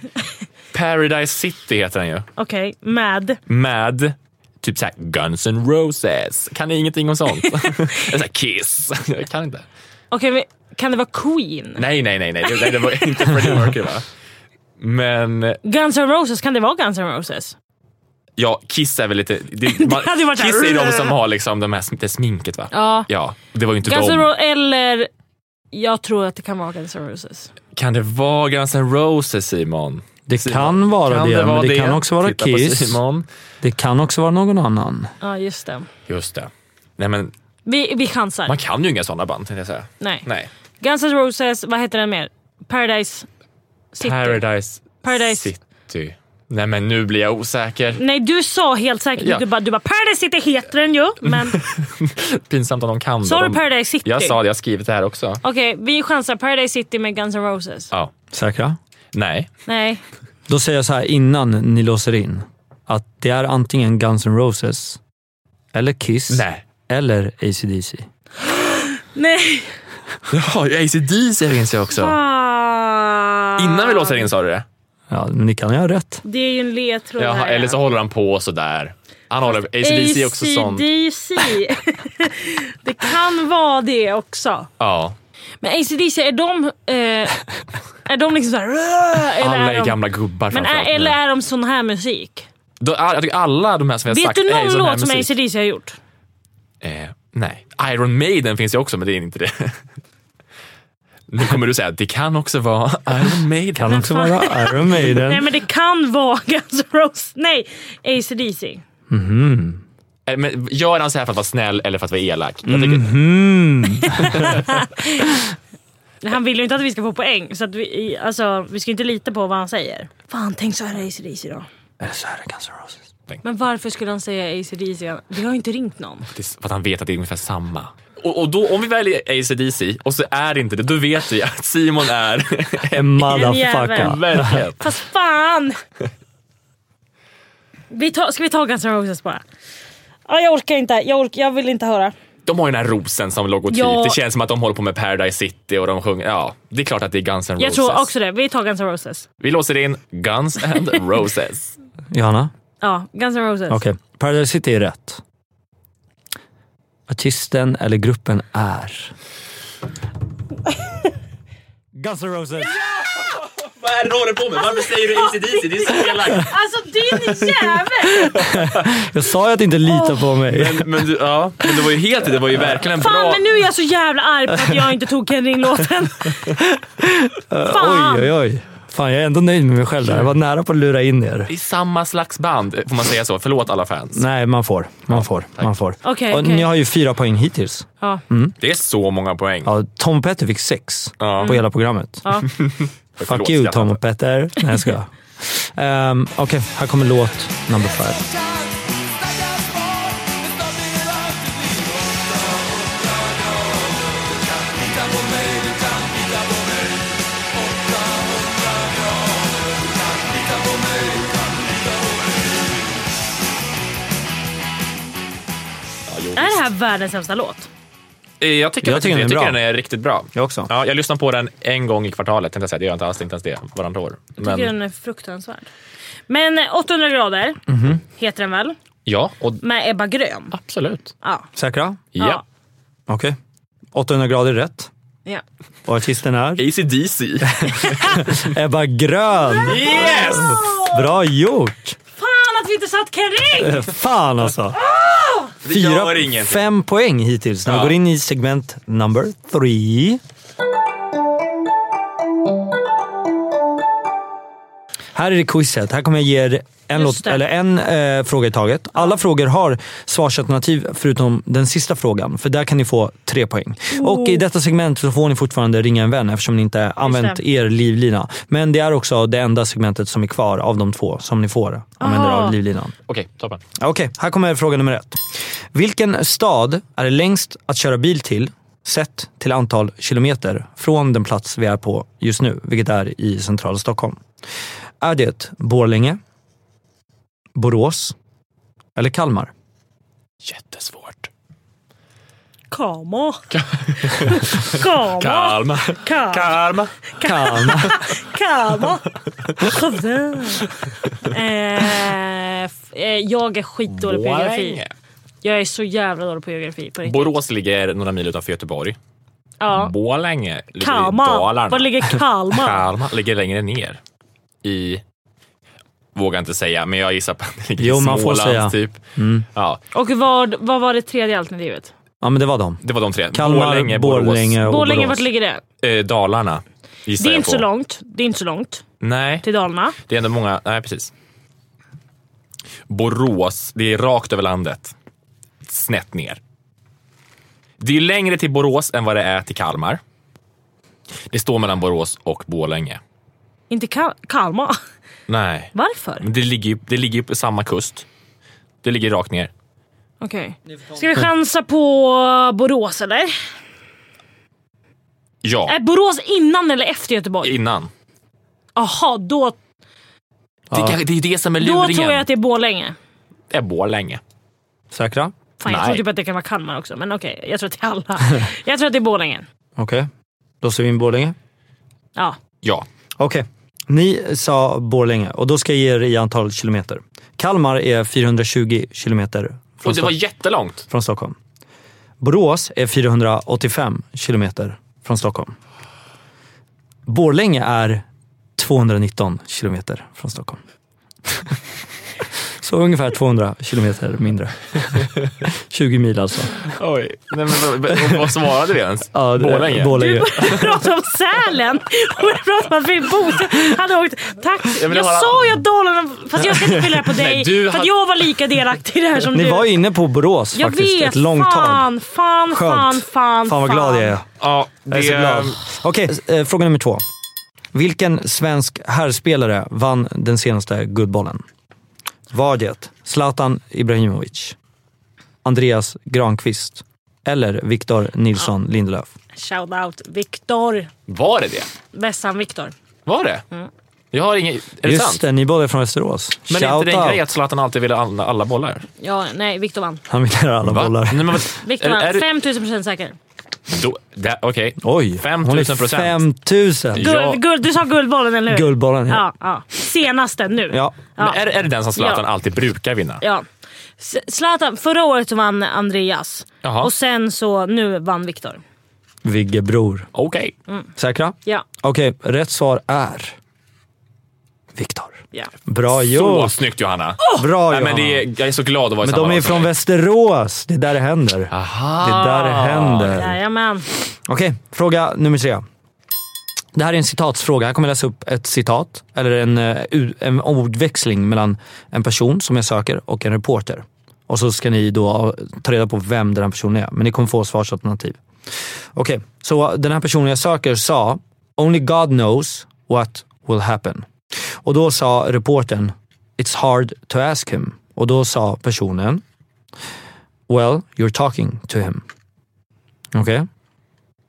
[SPEAKER 4] Paradise City heter den ju.
[SPEAKER 3] Okej, med.
[SPEAKER 4] Med typ såhär Guns N' Roses. Kan ni ingenting om sånt? Eller såhär Kiss. Jag kan inte.
[SPEAKER 3] Okej, men kan det vara Queen?
[SPEAKER 4] Nej, nej, nej, nej. Det, nej, det var inte Freddie Mercury va? Men eh,
[SPEAKER 3] Guns N' Roses, kan det vara Guns N' Roses?
[SPEAKER 4] ja, Kiss är väl lite... Det, man,
[SPEAKER 3] hade ju varit
[SPEAKER 4] Kiss
[SPEAKER 3] såhär-
[SPEAKER 4] är de som har liksom de här, det sminket va?
[SPEAKER 3] Ja.
[SPEAKER 4] Ja, det var ju inte
[SPEAKER 3] Guns N'
[SPEAKER 4] de.
[SPEAKER 3] Roses eller... Jag tror att det kan vara Guns N' Roses.
[SPEAKER 4] Kan det vara Guns N' Roses Simon?
[SPEAKER 1] Det kan vara det, men det, kan också vara
[SPEAKER 4] Titta På
[SPEAKER 1] Kiss.
[SPEAKER 4] Simon.
[SPEAKER 1] Det kan också vara någon annan.
[SPEAKER 3] Ja, just det.
[SPEAKER 4] Just det. Nej, men
[SPEAKER 3] Vi, vi chansar.
[SPEAKER 4] man kan ju inga sådana band tänkte jag säga.
[SPEAKER 3] Nej.
[SPEAKER 4] Nej.
[SPEAKER 3] Guns N' Roses, vad heter den mer? Paradise City.
[SPEAKER 4] Paradise,
[SPEAKER 3] Paradise.
[SPEAKER 4] City. Nej men nu blir jag osäker.
[SPEAKER 3] Nej, du sa helt säkert.
[SPEAKER 4] Ja.
[SPEAKER 3] Du, bara, du bara Paradise City heter den ju. Men
[SPEAKER 4] Pinsamt om de kan.
[SPEAKER 3] sa
[SPEAKER 4] det.
[SPEAKER 3] du
[SPEAKER 4] de...
[SPEAKER 3] Paradise City?
[SPEAKER 4] Jag sa det, jag har skrivit det här också.
[SPEAKER 3] Okej, vi chansar Paradise City med Guns N' Roses.
[SPEAKER 4] Ja.
[SPEAKER 1] Säkra?
[SPEAKER 4] Nej.
[SPEAKER 3] Nej.
[SPEAKER 1] Då säger jag så här innan ni låser in. Att det är antingen Guns N' Roses, eller Kiss,
[SPEAKER 4] Nej.
[SPEAKER 1] eller ACDC.
[SPEAKER 3] Nej.
[SPEAKER 4] Jaha, ACDC finns ju
[SPEAKER 3] Ah.
[SPEAKER 4] också. Innan vi låser in sa du det?
[SPEAKER 1] Ja, men ni kan ju ha rätt.
[SPEAKER 3] Det är ju en ledtråd
[SPEAKER 4] Jaha,
[SPEAKER 3] här.
[SPEAKER 4] eller så håller han på sådär. Han håller, ACDC är också sånt.
[SPEAKER 3] AC/DC. det kan vara det också.
[SPEAKER 4] Ja.
[SPEAKER 3] Men ACDC, är de, eh, är de liksom såhär... Eller
[SPEAKER 4] Alla är
[SPEAKER 3] de,
[SPEAKER 4] gamla gubbar
[SPEAKER 3] men
[SPEAKER 4] framförallt
[SPEAKER 3] är,
[SPEAKER 4] nu.
[SPEAKER 3] Eller är de sån här musik?
[SPEAKER 4] Då, jag tycker alla de här som jag
[SPEAKER 3] Vet
[SPEAKER 4] sagt
[SPEAKER 3] du
[SPEAKER 4] är ju
[SPEAKER 3] någon
[SPEAKER 4] sån här
[SPEAKER 3] låt som
[SPEAKER 4] musik.
[SPEAKER 3] ACDC har gjort?
[SPEAKER 4] Eh, nej. Iron Maiden finns ju också, men det är inte det. Nu kommer du säga att det kan också vara Iron Maiden.
[SPEAKER 1] Kan också vara Iron
[SPEAKER 3] Nej
[SPEAKER 1] Maiden.
[SPEAKER 3] men det kan vara Guns N' Roses. Nej, ACDC.
[SPEAKER 4] Eh, Men gör han så här för att vara snäll eller för att vara elak? Jag tycker,
[SPEAKER 3] Mhm. Han vill ju inte att vi ska få poäng så att vi, alltså, vi ska inte lita på vad han säger. Fan tänk så här ACDC då.
[SPEAKER 1] Eller så är det Guns N' Roses.
[SPEAKER 3] Men varför skulle han säga ACDC? Vi har ju inte ringt någon.
[SPEAKER 4] det är för att han vet att det är ungefär samma. Och, och då, om vi väljer ACDC och så är det inte det, då vet vi att Simon är en
[SPEAKER 1] Motherfucker.
[SPEAKER 4] verklighet.
[SPEAKER 3] Fast fan! Vi tar, ska vi ta Guns N' Roses bara? Ja, jag orkar inte, jag, orkar, jag vill inte höra.
[SPEAKER 4] De har ju den här rosen som logotyp.
[SPEAKER 3] Ja.
[SPEAKER 4] Det känns som att de håller på med Paradise City och de sjunger. Ja, det är klart att det är Guns N' Roses.
[SPEAKER 3] Jag tror också det, vi tar Guns N' Roses.
[SPEAKER 4] Vi låser in Guns and Roses.
[SPEAKER 1] Johanna?
[SPEAKER 3] Ja, Guns N' Roses.
[SPEAKER 1] Okej, Paradise City är rätt. Artisten eller gruppen är... Guns N' Roses.
[SPEAKER 4] Vad är det du håller på med? Varför säger du ACDC? Det är så elakt.
[SPEAKER 3] Alltså din jävel!
[SPEAKER 1] Jag sa ju att inte lita på mig.
[SPEAKER 4] Men, men, du, ja, men det var ju helt det var ju verkligen en
[SPEAKER 3] Fan
[SPEAKER 4] bra...
[SPEAKER 3] men nu är jag så jävla arg på att jag inte tog Ken Ring-låten. Fan!
[SPEAKER 1] Oj, oj, oj. Fan, jag är ändå nöjd med mig själv där. Jag var nära på att lura in er.
[SPEAKER 4] Det är samma slags band, får man säga så? Förlåt alla fans.
[SPEAKER 1] Nej, man får. Man får. Man får.
[SPEAKER 3] Okej,
[SPEAKER 1] Och
[SPEAKER 3] okej.
[SPEAKER 1] Ni har ju fyra poäng hittills.
[SPEAKER 3] Ja.
[SPEAKER 4] Det är så många poäng.
[SPEAKER 1] Ja, Tom och Petter fick sex
[SPEAKER 4] Ja.
[SPEAKER 1] på hela programmet.
[SPEAKER 3] Ja.
[SPEAKER 4] Förlåt,
[SPEAKER 1] Fuck you
[SPEAKER 4] skrattar.
[SPEAKER 1] Tom och Petter. Nej, jag skojar. um, Okej, här kommer låt number five.
[SPEAKER 3] Är det här världens sämsta låt?
[SPEAKER 4] Eh, Jag tycker,
[SPEAKER 1] Jag
[SPEAKER 4] jag tycker,
[SPEAKER 1] tycker den är bra.
[SPEAKER 4] den är riktigt bra.
[SPEAKER 1] Jag också.
[SPEAKER 4] Ja, jag lyssnar på den en gång i kvartalet, tänkte jag säga. Det gör jag inte alls, inte ens det. Varannat år.
[SPEAKER 3] Jag tycker
[SPEAKER 4] Men,
[SPEAKER 3] den är fruktansvärd. Men eh, 800 grader heter den väl?
[SPEAKER 4] ja, och
[SPEAKER 3] Med Ebba Grön.
[SPEAKER 4] absolut.
[SPEAKER 3] Ja.
[SPEAKER 1] Säkra?
[SPEAKER 4] Ja.
[SPEAKER 1] Okej. 800 grader rätt.
[SPEAKER 3] ja.
[SPEAKER 1] Och artisten är?
[SPEAKER 4] ACDC.
[SPEAKER 1] Ebba Grön!
[SPEAKER 4] Yes!
[SPEAKER 1] Bra gjort!
[SPEAKER 3] Fan att vi inte satt Ken Ring!
[SPEAKER 1] Fan Eh, alltså!
[SPEAKER 4] Ah! Det gör
[SPEAKER 1] Fyra,
[SPEAKER 4] ingenting.
[SPEAKER 1] fem poäng hittills när vi
[SPEAKER 4] Ja.
[SPEAKER 1] går in i segment number three. Här är det quizet. Här kommer jag ge er en,
[SPEAKER 3] Just
[SPEAKER 1] låt,
[SPEAKER 3] det.
[SPEAKER 1] eller en eh, fråga i taget. Alla frågor har svarsalternativ förutom den sista frågan, för där kan ni få tre poäng. Och i detta segment så får ni fortfarande ringa en vän eftersom ni inte använt
[SPEAKER 3] det.
[SPEAKER 1] er livlina. Men det är också det enda segmentet som är kvar av de två som ni får använda er
[SPEAKER 4] Ah.
[SPEAKER 3] Aha.
[SPEAKER 1] av livlinan.
[SPEAKER 4] Okej, toppen.
[SPEAKER 1] Okej, här kommer fråga nummer ett. Vilken stad är det längst att köra bil till sett till antal kilometer från den plats vi är på just nu, vilket är i centrala Stockholm? Är det Borlänge, Borås eller Kalmar?
[SPEAKER 4] Jättesvårt.
[SPEAKER 3] Kamo. Kamo.
[SPEAKER 4] Kalma.
[SPEAKER 3] Kamo.
[SPEAKER 4] Kalma.
[SPEAKER 1] Kalmar.
[SPEAKER 3] Kamo. Skövde. Eh, f- eh, Jag är skitdålig på geografi. Jag är så jävla dålig på geografi. På riktigt.
[SPEAKER 4] Borås ligger några mil utanför Göteborg.
[SPEAKER 3] Ja.
[SPEAKER 4] Borlänge ligger i
[SPEAKER 3] Kalmar.
[SPEAKER 4] Dalarna.
[SPEAKER 3] Var ligger Kalmar?
[SPEAKER 4] Kalmar ligger längre ner. I... Vågar inte säga, men jag gissar på att det ligger
[SPEAKER 1] Jo,
[SPEAKER 4] i
[SPEAKER 1] man får
[SPEAKER 4] Småland,
[SPEAKER 1] säga. Mm.
[SPEAKER 4] typ. Ja,
[SPEAKER 3] Och vad, vad var det tredje alternativet?
[SPEAKER 1] Ja, men det var dem.
[SPEAKER 4] det var de tre.
[SPEAKER 1] Kalmar, Borlänge, och
[SPEAKER 3] Borlänge,
[SPEAKER 1] Borås.
[SPEAKER 3] vart ligger det?
[SPEAKER 4] Borås. Eh, Dalarna gissar
[SPEAKER 3] Det är
[SPEAKER 4] jag
[SPEAKER 3] inte
[SPEAKER 4] på.
[SPEAKER 3] så långt. Typ. Det är inte så långt
[SPEAKER 4] Nej,
[SPEAKER 3] till Dalarna.
[SPEAKER 4] det är ändå många. Nej, precis. Borås, det är rakt över landet. Snett ner. Det är ju längre till Borås än vad det är till Kalmar. Det står mellan Borås och Borlänge.
[SPEAKER 3] Inte Kal- Kalmar.
[SPEAKER 4] Nej,
[SPEAKER 3] Varför?
[SPEAKER 4] men det ligger ju det ligger ju på samma kust. Det ligger rakt ner.
[SPEAKER 3] Okej. Ska vi chansa på Borås eller?
[SPEAKER 4] Ja.
[SPEAKER 3] Är Borås innan eller efter Göteborg?
[SPEAKER 4] innan.
[SPEAKER 3] Jaha, då,
[SPEAKER 4] Det, är kanske- det är ju det som är luringen.
[SPEAKER 3] då tror jag att det är Borlänge.
[SPEAKER 4] det är Borlänge.
[SPEAKER 1] Säkra?
[SPEAKER 3] Fan, jag
[SPEAKER 4] Nej.
[SPEAKER 3] tror typ att det kan vara Kalmar också, men okej. jag tror att det är alla. Jag tror att det är Borlänge.
[SPEAKER 1] Okej, då ser vi in Borlänge.
[SPEAKER 3] Ja.
[SPEAKER 4] Ja.
[SPEAKER 1] Okej. Ni sa Borlänge och då ska jag ge er i antal kilometer. Kalmar är 420 kilometer från,
[SPEAKER 4] Och det var
[SPEAKER 1] Stock-
[SPEAKER 4] jättelångt.
[SPEAKER 1] från Stockholm. Borås är 485 kilometer från Stockholm. Borlänge är 219 kilometer från Stockholm. Så ungefär 200 kilometer mindre. 20 mil alltså.
[SPEAKER 4] Oj. Nej, men, vad- vad- vad svarade vi ens?
[SPEAKER 1] Ja, det-
[SPEAKER 4] Borlänge?
[SPEAKER 3] Du
[SPEAKER 1] Borlänge.
[SPEAKER 3] började prata om Sälen och jag pratade om att Fredrik Boström hade åkt taxi.
[SPEAKER 4] Jag
[SPEAKER 3] Jag,
[SPEAKER 4] vill höra-
[SPEAKER 3] sa ju att Dalarna... Fast jag ska inte skylla det på dig.
[SPEAKER 4] Nej, du
[SPEAKER 3] För att
[SPEAKER 4] hade-
[SPEAKER 3] jag var lika delaktig i det här som
[SPEAKER 1] Ni
[SPEAKER 3] du.
[SPEAKER 1] var ju inne på Borås
[SPEAKER 3] jag
[SPEAKER 1] faktiskt.
[SPEAKER 3] vet.
[SPEAKER 1] Ett långt tag.
[SPEAKER 3] fan, fan, fan,
[SPEAKER 1] Skönt.
[SPEAKER 3] fan.
[SPEAKER 1] Fan vad glad jag är.
[SPEAKER 4] Ja, det,
[SPEAKER 1] Jag är så glad. Okej, eh, fråga nummer två. Vilken svensk herrspelare vann den senaste Guldbollen? Var det Zlatan Ibrahimovic, Andreas Granqvist eller Victor Nilsson Lindelöf?
[SPEAKER 3] Shoutout Viktor.
[SPEAKER 4] Var det det?
[SPEAKER 3] Vessan Viktor.
[SPEAKER 4] Var det?
[SPEAKER 3] Mm.
[SPEAKER 4] Jag har ingen... Är det
[SPEAKER 1] Just
[SPEAKER 4] sant?
[SPEAKER 1] det, ni båda är från Västerås.
[SPEAKER 4] Men är inte det en grej att Zlatan alltid ville alla, alla bollar?
[SPEAKER 3] Ja, nej, Viktor vann.
[SPEAKER 1] Han vinner alla
[SPEAKER 4] Va?
[SPEAKER 1] bollar.
[SPEAKER 4] Nej, men, vad-
[SPEAKER 3] Viktor
[SPEAKER 4] är, är
[SPEAKER 3] vann.
[SPEAKER 4] du-
[SPEAKER 3] 5000 procent säker.
[SPEAKER 4] då- det- Okej.
[SPEAKER 1] Oj,
[SPEAKER 4] 5000 procent.
[SPEAKER 1] 5000.
[SPEAKER 3] Guld,
[SPEAKER 4] Ja.
[SPEAKER 3] guld, du sa Guldbollen, eller hur?
[SPEAKER 1] Guldbollen, ja.
[SPEAKER 3] ja. ja. Senaste nu.
[SPEAKER 1] Ja.
[SPEAKER 4] Men Är, är det den som Zlatan
[SPEAKER 3] Ja.
[SPEAKER 4] alltid brukar vinna?
[SPEAKER 3] Ja. S- Zlatan, förra året så vann Andreas.
[SPEAKER 4] Jaha.
[SPEAKER 3] Och sen så nu vann Viktor.
[SPEAKER 1] Vigge Bror.
[SPEAKER 4] Okej.
[SPEAKER 1] Mm. Säkra?
[SPEAKER 3] Ja.
[SPEAKER 1] Okej, rätt svar är Viktor.
[SPEAKER 3] ja.
[SPEAKER 1] Bra
[SPEAKER 4] Så
[SPEAKER 1] gjort!
[SPEAKER 4] snyggt Johanna!
[SPEAKER 1] Bra
[SPEAKER 4] Nej,
[SPEAKER 1] Johanna.
[SPEAKER 4] men det är, jag är så glad att vara i
[SPEAKER 1] Men
[SPEAKER 4] samma
[SPEAKER 1] de är
[SPEAKER 4] lag som
[SPEAKER 1] från
[SPEAKER 4] dig.
[SPEAKER 1] Västerås. Det är där det händer.
[SPEAKER 4] Aha.
[SPEAKER 1] Det är där det händer.
[SPEAKER 3] Jajamän.
[SPEAKER 1] Okej, fråga nummer tre. Det här är en citatsfråga. Här kommer jag läsa upp ett citat eller en, eh, u- en ordväxling mellan en person som jag söker och en reporter. Och så ska ni då ta reda på vem den här personen är. Men ni kommer få svarsalternativ. Okej, så den här personen jag söker sa “Only God knows what will happen”. Och då sa reportern “It's hard to ask him”. Och då sa personen “Well, you're talking to him”. Okej?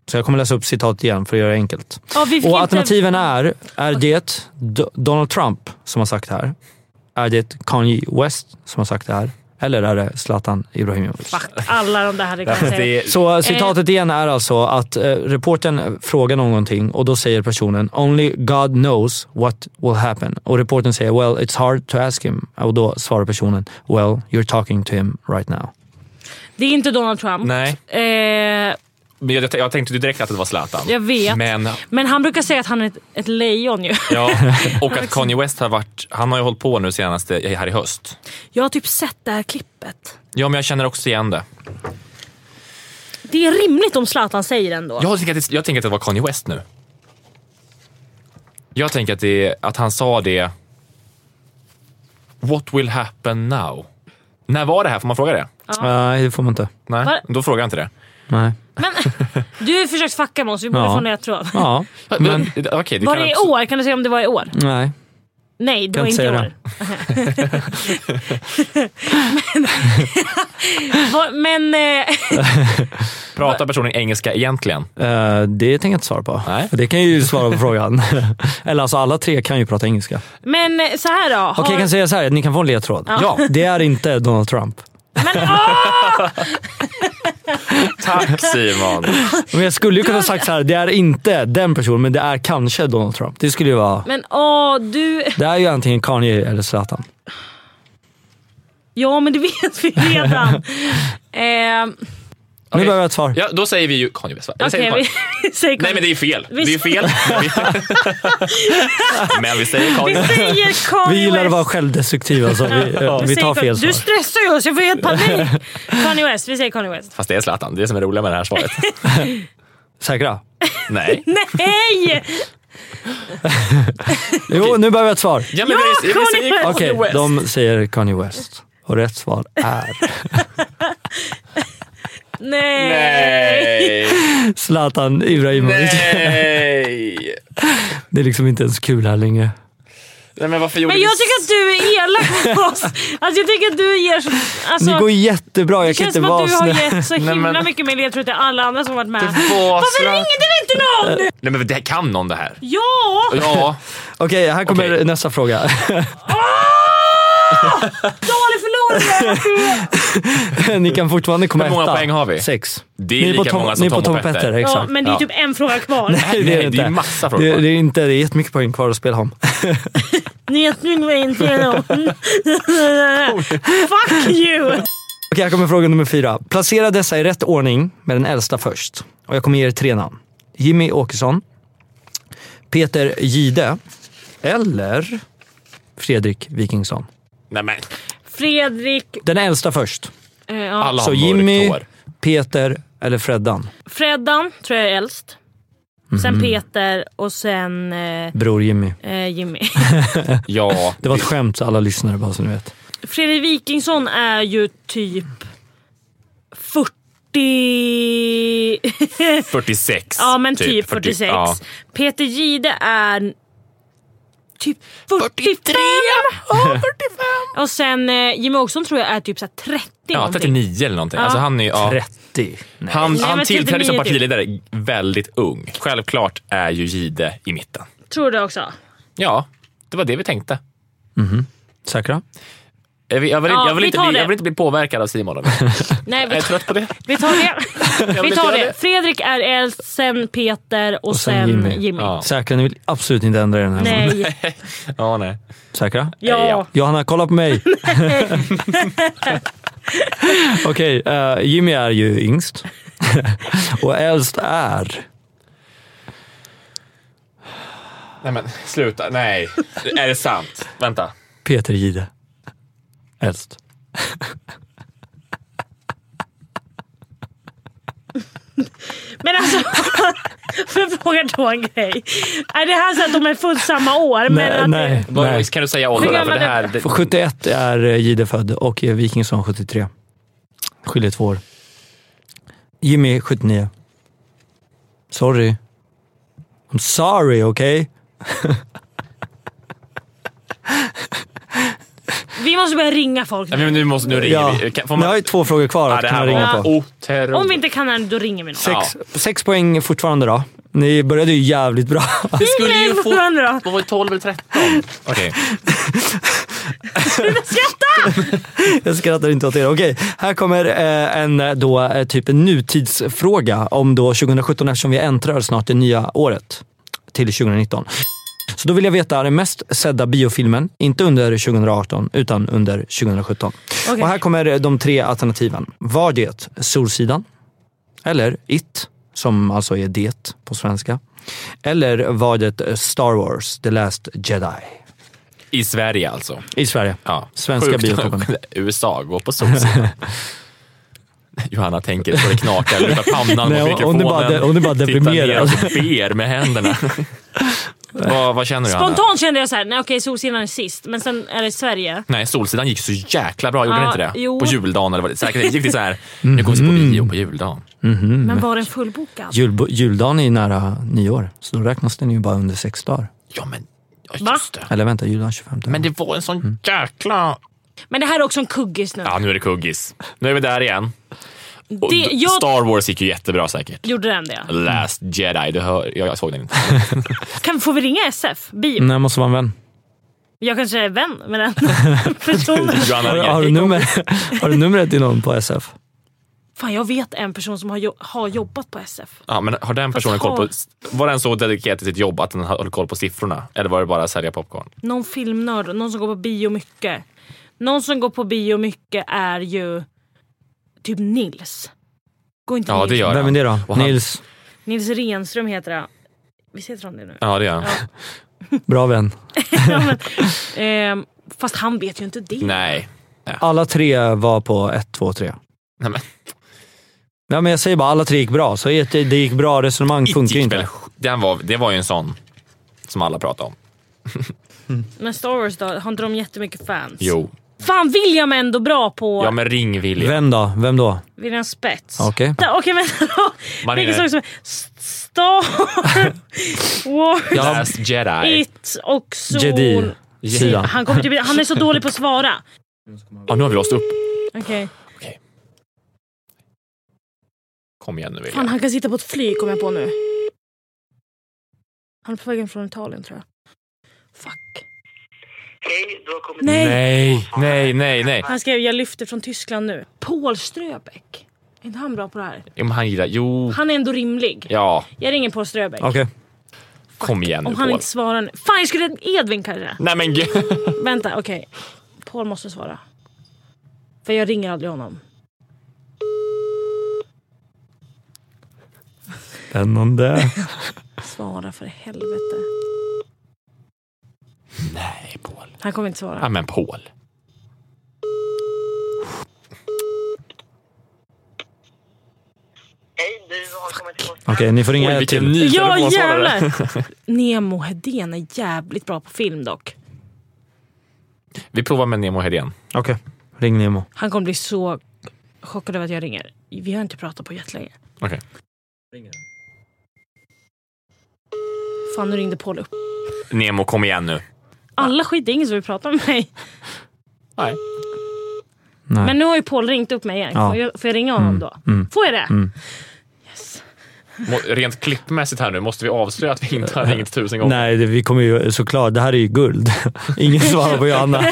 [SPEAKER 1] Så jag kommer läsa upp citat igen för att göra det enkelt.
[SPEAKER 3] Ja, vi fick
[SPEAKER 1] Och
[SPEAKER 3] inte-
[SPEAKER 1] alternativen är, är det Do- Donald Trump som har sagt det här? Är det Kanye West som har sagt det här? Eller är det Zlatan Ibrahimovic?
[SPEAKER 3] Fuck, alla de där hade kunnat säga.
[SPEAKER 4] Det är,
[SPEAKER 1] Så eh, citatet igen är alltså att eh, reportern frågar någonting och då säger personen “Only God knows what will happen” och reportern säger “Well, it's hard to ask him” och då svarar personen “Well, you're talking to him right now”.
[SPEAKER 3] Det är inte Donald Trump.
[SPEAKER 4] nej.
[SPEAKER 3] Eh,
[SPEAKER 4] Men jag, jag tänkte ju direkt att det var Zlatan.
[SPEAKER 3] jag vet.
[SPEAKER 4] Men
[SPEAKER 3] Men han brukar säga att han är ett, ett lejon ju.
[SPEAKER 4] Ja, och att Kanye West har varit, han har ju hållit på nu senaste, här i höst.
[SPEAKER 3] Jag har typ sett det här klippet.
[SPEAKER 4] Ja, men jag känner också igen det.
[SPEAKER 3] Det är rimligt om Zlatan säger det ändå.
[SPEAKER 4] Jag tänker, att det, jag tänker att det var Kanye West nu. Jag tänker att, det, att han sa det... What will happen now? När var det här? Får man fråga det?
[SPEAKER 1] Nej, det får man inte.
[SPEAKER 4] Nej,
[SPEAKER 3] Var-
[SPEAKER 4] då frågar jag inte det.
[SPEAKER 1] Nej.
[SPEAKER 3] Men du har försökt fucka med oss, vi borde
[SPEAKER 1] Ja.
[SPEAKER 3] få nya tråd.
[SPEAKER 1] Ja,
[SPEAKER 4] Men,
[SPEAKER 1] men
[SPEAKER 4] okej, det
[SPEAKER 3] Var
[SPEAKER 4] kan
[SPEAKER 3] det i
[SPEAKER 4] också-
[SPEAKER 3] år? Kan du säga om det var i år?
[SPEAKER 1] nej.
[SPEAKER 3] Nej, det
[SPEAKER 1] Mm. Kan
[SPEAKER 3] var inte
[SPEAKER 1] inte
[SPEAKER 3] i
[SPEAKER 1] säga
[SPEAKER 3] år. men men eh,
[SPEAKER 4] Pratar personen engelska egentligen?
[SPEAKER 1] Eh, det tänker jag inte svara på.
[SPEAKER 4] Nej.
[SPEAKER 1] För Det kan ju svara på frågan. Eller alltså alla tre kan ju prata engelska.
[SPEAKER 3] Men så här då. Har...
[SPEAKER 1] Okej, jag kan säga så här. Ni kan få en ledtråd.
[SPEAKER 4] Ja.
[SPEAKER 1] Det är inte Donald Trump.
[SPEAKER 3] Men åh!
[SPEAKER 4] Tack Simon!
[SPEAKER 1] Men jag skulle ju kunna sagt så här. Det är inte den personen, men det är kanske Donald Trump. Det skulle ju vara...
[SPEAKER 3] Men åh, du...
[SPEAKER 1] Det är ju antingen Kanye eller Zlatan.
[SPEAKER 3] Ja, men det vet vi redan. eh,
[SPEAKER 1] Nu
[SPEAKER 4] Okej.
[SPEAKER 1] behöver jag ett svar.
[SPEAKER 4] Ja, då säger vi ju Kanye West. va? Eller säger
[SPEAKER 3] Okej,
[SPEAKER 4] vi Kanye?
[SPEAKER 3] vi, vi säger
[SPEAKER 4] Nej,
[SPEAKER 3] Kanye.
[SPEAKER 4] men det är ju fel. Det
[SPEAKER 3] Vi-
[SPEAKER 4] är ju fel. men vi säger Kanye
[SPEAKER 3] Vi
[SPEAKER 4] West.
[SPEAKER 3] säger Kanye
[SPEAKER 1] Vi gillar att
[SPEAKER 3] West.
[SPEAKER 1] vara självdestruktiva, så vi, ja, vi
[SPEAKER 3] säger
[SPEAKER 1] tar
[SPEAKER 3] Kanye-
[SPEAKER 1] fel svar.
[SPEAKER 3] Du stressar ju oss, jag får helt panik. Kanye West, vi säger Kanye West.
[SPEAKER 4] Fast det är Zlatan. Det är det som är roligt med det här svaret.
[SPEAKER 1] Säkra?
[SPEAKER 4] Nej.
[SPEAKER 3] Nej!
[SPEAKER 1] Jo, nu behöver jag ett svar.
[SPEAKER 4] Ja, men vi, vi
[SPEAKER 3] Kanye
[SPEAKER 4] säger
[SPEAKER 3] West.
[SPEAKER 1] Okej,
[SPEAKER 4] Kanye West.
[SPEAKER 1] de säger Kanye West. Och rätt svar är
[SPEAKER 3] Nej!
[SPEAKER 4] Nej.
[SPEAKER 1] Zlatan Ibrahimovic.
[SPEAKER 4] Nej.
[SPEAKER 1] Det är liksom inte ens kul här längre.
[SPEAKER 4] Nej, men varför gjorde
[SPEAKER 3] Men
[SPEAKER 4] vi
[SPEAKER 3] jag tycker att du är elak mot oss. Alltså jag tycker att du ger så... Alltså,
[SPEAKER 1] Det går jättebra, jag kan
[SPEAKER 3] känns
[SPEAKER 1] inte
[SPEAKER 3] som
[SPEAKER 1] vara
[SPEAKER 3] att du har
[SPEAKER 1] snäll.
[SPEAKER 3] gett så himla
[SPEAKER 4] men-
[SPEAKER 3] mycket mer ledtråd till alla andra som varit med.
[SPEAKER 4] var
[SPEAKER 3] Varför
[SPEAKER 4] Zlatan.
[SPEAKER 3] ringde vi inte någon?
[SPEAKER 4] Nej men det här kan någon det här.
[SPEAKER 3] Ja!
[SPEAKER 4] Ja,
[SPEAKER 1] Okej, här kommer
[SPEAKER 4] Okej.
[SPEAKER 1] nästa fråga.
[SPEAKER 3] Dålig förlorare!
[SPEAKER 1] ni kan fortfarande komma
[SPEAKER 4] Hur många
[SPEAKER 1] etta.
[SPEAKER 4] poäng har vi?
[SPEAKER 1] Sex.
[SPEAKER 4] Det är
[SPEAKER 1] ni
[SPEAKER 4] lika
[SPEAKER 1] på Tom-
[SPEAKER 4] många som
[SPEAKER 1] ni är på
[SPEAKER 4] Tom och Petter.
[SPEAKER 3] ja,
[SPEAKER 1] exakt.
[SPEAKER 3] men det är typ en fråga kvar.
[SPEAKER 1] Nej,
[SPEAKER 4] Nej,
[SPEAKER 1] det
[SPEAKER 4] det
[SPEAKER 1] är
[SPEAKER 4] är
[SPEAKER 1] inte.
[SPEAKER 4] ju massa frågor
[SPEAKER 1] det,
[SPEAKER 4] kvar.
[SPEAKER 1] det är inte. Det är jättemycket poäng kvar att spela om.
[SPEAKER 3] Njutning var inte någon. Fuck you!
[SPEAKER 1] Okej, här kommer fråga nummer fyra. Placera dessa i rätt ordning med den äldsta först. Och jag kommer ge er tre namn. Jimmy Åkesson, Peter Gide eller Fredrik Wikingsson.
[SPEAKER 4] nej men
[SPEAKER 3] Fredrik...
[SPEAKER 1] Den äldsta först.
[SPEAKER 3] Eh, ja.
[SPEAKER 4] alla har
[SPEAKER 1] Så
[SPEAKER 4] mörkt
[SPEAKER 1] Jimmy,
[SPEAKER 4] hår.
[SPEAKER 1] Peter eller Freddan.
[SPEAKER 3] Freddan tror jag är äldst. Sen Peter och sen eh,
[SPEAKER 1] Bror Jimmy.
[SPEAKER 3] eh, Jimmy.
[SPEAKER 4] Ja,
[SPEAKER 1] Det var ett skämt alla lyssnare bara så ni vet.
[SPEAKER 3] Fredrik Wikingsson är ju typ 40...
[SPEAKER 4] 46.
[SPEAKER 3] ja men typ,
[SPEAKER 4] 40
[SPEAKER 3] 46.
[SPEAKER 4] ja.
[SPEAKER 3] Peter Gide är typ 45! 43! Och sen eh, Jimmy Åkesson tror jag är typ så här 30
[SPEAKER 4] Ja,
[SPEAKER 3] någonting.
[SPEAKER 4] 39 eller någonting. Alltså han är ju, ja.
[SPEAKER 1] 30. Nej.
[SPEAKER 4] Han,
[SPEAKER 3] Nej,
[SPEAKER 4] han
[SPEAKER 3] men
[SPEAKER 4] tillträdde
[SPEAKER 3] 39
[SPEAKER 4] som
[SPEAKER 3] typ.
[SPEAKER 4] partiledare väldigt ung. Självklart är ju Gide i mitten.
[SPEAKER 3] Tror du det också?
[SPEAKER 4] Ja, det var det vi tänkte.
[SPEAKER 1] Säkra?
[SPEAKER 4] Jag vill, jag vill,
[SPEAKER 3] Ja,
[SPEAKER 4] jag vill,
[SPEAKER 3] vi
[SPEAKER 4] inte,
[SPEAKER 3] tar
[SPEAKER 4] bli,
[SPEAKER 3] det.
[SPEAKER 4] jag vill inte bli påverkad av Simon. Eller?
[SPEAKER 3] Nej,
[SPEAKER 4] Jag
[SPEAKER 3] vi,
[SPEAKER 4] är trött på det.
[SPEAKER 3] vi tar det.
[SPEAKER 4] Jag vill
[SPEAKER 3] Vi
[SPEAKER 4] inte
[SPEAKER 3] tar
[SPEAKER 4] göra
[SPEAKER 3] det. Fredrik är äldst, sen Peter och, sen,
[SPEAKER 1] sen
[SPEAKER 3] Jimmy.
[SPEAKER 1] Jimmy. Säkra? Ni vill absolut inte ändra er den här gången.
[SPEAKER 3] Nej,
[SPEAKER 4] Ja, nej.
[SPEAKER 1] Säkra?
[SPEAKER 3] ja.
[SPEAKER 4] Ja.
[SPEAKER 1] Johanna, kolla på mig. Okej, eh, Jimmy är ju yngst. Och äldst är...
[SPEAKER 4] nej men sluta. Nej. Är det sant? Vänta.
[SPEAKER 1] Peter Gide. Äldst.
[SPEAKER 3] Men alltså, får jag fråga då en grej? Är det här så att de är födda samma år? Men
[SPEAKER 1] Nej,
[SPEAKER 3] att
[SPEAKER 1] nej,
[SPEAKER 4] Vad-
[SPEAKER 1] nej.
[SPEAKER 4] Kan du säga åldern?
[SPEAKER 3] Hur
[SPEAKER 4] där? För
[SPEAKER 3] gammal
[SPEAKER 4] det
[SPEAKER 3] är-
[SPEAKER 4] här, det,
[SPEAKER 1] För 71 är eh, Gide född och eh, Wikingsson 73. Skiljer två år. Jimmy 79. Sorry. I'm sorry, okej?
[SPEAKER 3] Vi måste börja ringa folk.
[SPEAKER 4] nej, men nu, måste, nu ringer
[SPEAKER 1] Ja.
[SPEAKER 4] vi. Kan, får
[SPEAKER 1] Ni har
[SPEAKER 4] man,
[SPEAKER 1] ju två frågor kvar
[SPEAKER 4] ja,
[SPEAKER 1] att
[SPEAKER 4] det
[SPEAKER 1] kunna
[SPEAKER 4] här
[SPEAKER 1] ringa
[SPEAKER 4] var
[SPEAKER 1] på.
[SPEAKER 4] otroligt.
[SPEAKER 3] Om vi inte kan den, då ringer vi någon.
[SPEAKER 1] Sex, sex poäng fortfarande då. Ni började ju jävligt bra.
[SPEAKER 4] Vi skulle ju
[SPEAKER 3] Nej,
[SPEAKER 4] få...
[SPEAKER 3] vad bra.
[SPEAKER 4] Vad var det, 12 eller 13? Okej.
[SPEAKER 3] Skratta!
[SPEAKER 1] Jag skrattar inte åt er. Okej, här kommer eh, en eh, då, eh, typ en nutidsfråga om då 2017 eftersom vi äntrar snart det nya året till 2019. Så då vill jag veta den mest sedda biofilmen, inte under 2018 utan under 2017.
[SPEAKER 3] Okej.
[SPEAKER 1] Och här kommer eh, de tre alternativen. Var det Solsidan? Eller It, som alltså är Det på svenska. Eller var det Star Wars, The Last Jedi?
[SPEAKER 4] I Sverige alltså.
[SPEAKER 1] I Sverige.
[SPEAKER 4] Ja.
[SPEAKER 1] Svenska
[SPEAKER 4] Sjukt nog,
[SPEAKER 1] biotoppen.
[SPEAKER 4] USA, gå på solsidan. Johanna tänker på det knakar, lutar pannan
[SPEAKER 1] Nej, hon- hon är
[SPEAKER 4] mot mikrofonen.
[SPEAKER 1] bara de- hon är bara deprimerad.
[SPEAKER 4] Tittar ner och ber med händerna. vad, vad känner du Johanna?
[SPEAKER 3] Spontant kände jag så här, nej okej Solsidan är sist, men sen är det Sverige.
[SPEAKER 4] Nej, Solsidan gick så jäkla bra, gjorde
[SPEAKER 3] Ja,
[SPEAKER 4] den inte det?
[SPEAKER 3] jo.
[SPEAKER 4] På juldagen eller vad det säkert gick det så här. nu går vi på bio på juldagen.
[SPEAKER 3] Men var den fullbokad?
[SPEAKER 1] Jul, juldagen är ju nära nyår, så då räknas den ju bara under sex dagar.
[SPEAKER 4] Ja men, ja,
[SPEAKER 3] Va?
[SPEAKER 4] just det.
[SPEAKER 1] Eller vänta, juldagen 25.
[SPEAKER 4] Men det var en sån jäkla...
[SPEAKER 3] Men det här är också en kuggis nu.
[SPEAKER 4] Ja, nu är det kuggis. Nu är vi där igen. Och
[SPEAKER 3] Det,
[SPEAKER 4] d-
[SPEAKER 3] jag
[SPEAKER 4] Star Wars gick ju jättebra säkert.
[SPEAKER 3] gjorde den det.
[SPEAKER 4] Last Jedi, du hör, jag, jag såg den inte.
[SPEAKER 3] Kan, får vi ringa SF? Bio?
[SPEAKER 1] Nej, jag måste vara en vän.
[SPEAKER 3] Jag kanske är vän med den personen.
[SPEAKER 4] Johanna
[SPEAKER 1] Har,
[SPEAKER 4] ringer.
[SPEAKER 1] har, du, nummer, har du numret till någon på SF?
[SPEAKER 3] Fan jag vet en person som har, jo- har jobbat på SF.
[SPEAKER 4] Ja, men har den personen koll på... Var den så dedikerad till sitt jobb att den höll koll på siffrorna? Eller var det bara att sälja popcorn?
[SPEAKER 3] Någon filmnörd, någon som går på bio mycket. Någon som går på bio mycket är ju typ Nils. Går inte
[SPEAKER 4] Ja,
[SPEAKER 3] Nils?
[SPEAKER 4] det gör
[SPEAKER 1] Vem är
[SPEAKER 4] han.
[SPEAKER 1] det då?
[SPEAKER 4] Och han-
[SPEAKER 1] Nils,
[SPEAKER 3] Nils Renström heter han. Visst heter han det nu?
[SPEAKER 4] Ja, det gör han.
[SPEAKER 1] bra vän.
[SPEAKER 3] Ehm, fast han vet ju inte det.
[SPEAKER 4] Nej.
[SPEAKER 1] Alla tre var på 1, 2, 3.
[SPEAKER 4] Nej, men
[SPEAKER 1] Nej, men jag säger bara alla tre gick bra, så ett- det gick bra resonemang funkar ju
[SPEAKER 4] gick
[SPEAKER 1] inte.
[SPEAKER 4] väl- Den var, det var ju en sån som alla pratade om.
[SPEAKER 3] Men Star Wars då, har inte de jättemycket fans?
[SPEAKER 4] Jo.
[SPEAKER 3] Fan William är ändå bra på
[SPEAKER 4] Ja, men ring William.
[SPEAKER 1] Vem då? Vem då?
[SPEAKER 3] William Spets.
[SPEAKER 1] Okej.
[SPEAKER 3] Vänta, Okej vänta då.
[SPEAKER 4] Man
[SPEAKER 3] Vilken
[SPEAKER 4] är-
[SPEAKER 3] sak som är S- Star Wars,
[SPEAKER 4] Last Jedi.
[SPEAKER 3] It och Sol.
[SPEAKER 1] Jedi. Sidan.
[SPEAKER 3] Han, kommer typ, han är så dålig på att svara.
[SPEAKER 4] Ja, nu har vi låst upp.
[SPEAKER 3] Okej.
[SPEAKER 4] Kom igen nu William.
[SPEAKER 3] Fan han kan sitta på ett flyg kom jag på nu. Han är på vägen från Italien tror jag. Fuck.
[SPEAKER 6] Hej, du har kommit
[SPEAKER 3] Nej.
[SPEAKER 4] Nej, nej, nej, nej.
[SPEAKER 3] Han skrev jag lyfter från Tyskland nu. Paul Ströbeck. Är inte han bra på det här?
[SPEAKER 4] Jo, men han gillar... Jo.
[SPEAKER 3] Han är ändå rimlig.
[SPEAKER 4] Ja,
[SPEAKER 3] Jag ringer Paul Ströbeck.
[SPEAKER 1] Okej.
[SPEAKER 4] kom igen nu
[SPEAKER 3] Om han
[SPEAKER 4] Paul.
[SPEAKER 3] inte svarar nu. Fan jag skulle... Edvin kanske?
[SPEAKER 4] Nej men gud.
[SPEAKER 3] Vänta okej. Paul måste svara. För jag ringer aldrig honom.
[SPEAKER 1] Spännande.
[SPEAKER 3] Svara för helvete.
[SPEAKER 4] Nej Paul.
[SPEAKER 3] Han kommer inte svara.
[SPEAKER 4] Ja men Paul.
[SPEAKER 6] Hej, du har kommit till
[SPEAKER 1] Okej, ni får ringa
[SPEAKER 4] Oj,
[SPEAKER 1] ett
[SPEAKER 4] vilken
[SPEAKER 1] till.
[SPEAKER 4] ny
[SPEAKER 3] Ja
[SPEAKER 4] telefonsvarare.
[SPEAKER 3] jävlar! Nemo Hedén är jävligt bra på film dock.
[SPEAKER 4] Vi provar med Nemo Hedén.
[SPEAKER 1] Okej, ring Nemo.
[SPEAKER 3] Han kommer bli så chockad över att jag ringer. Vi har inte pratat på jättelänge.
[SPEAKER 4] Okej.
[SPEAKER 3] Fan nu ringde Paul upp.
[SPEAKER 4] Nemo, kom igen nu.
[SPEAKER 3] Alla skit, det är ingen som vill prata med mig.
[SPEAKER 4] Nej.
[SPEAKER 1] Nej.
[SPEAKER 3] Men nu har ju Paul ringt upp mig igen.
[SPEAKER 1] Ja. Mm.
[SPEAKER 3] Får, jag, får jag ringa honom då? Får jag det?
[SPEAKER 4] Må- Rent klippmässigt här nu, måste vi avslöja att vi inte har ringt tusen gånger?
[SPEAKER 1] Nej, det, vi kommer ju såklart. Det här är ju guld. Ingen svarar på Johanna.
[SPEAKER 3] Nu-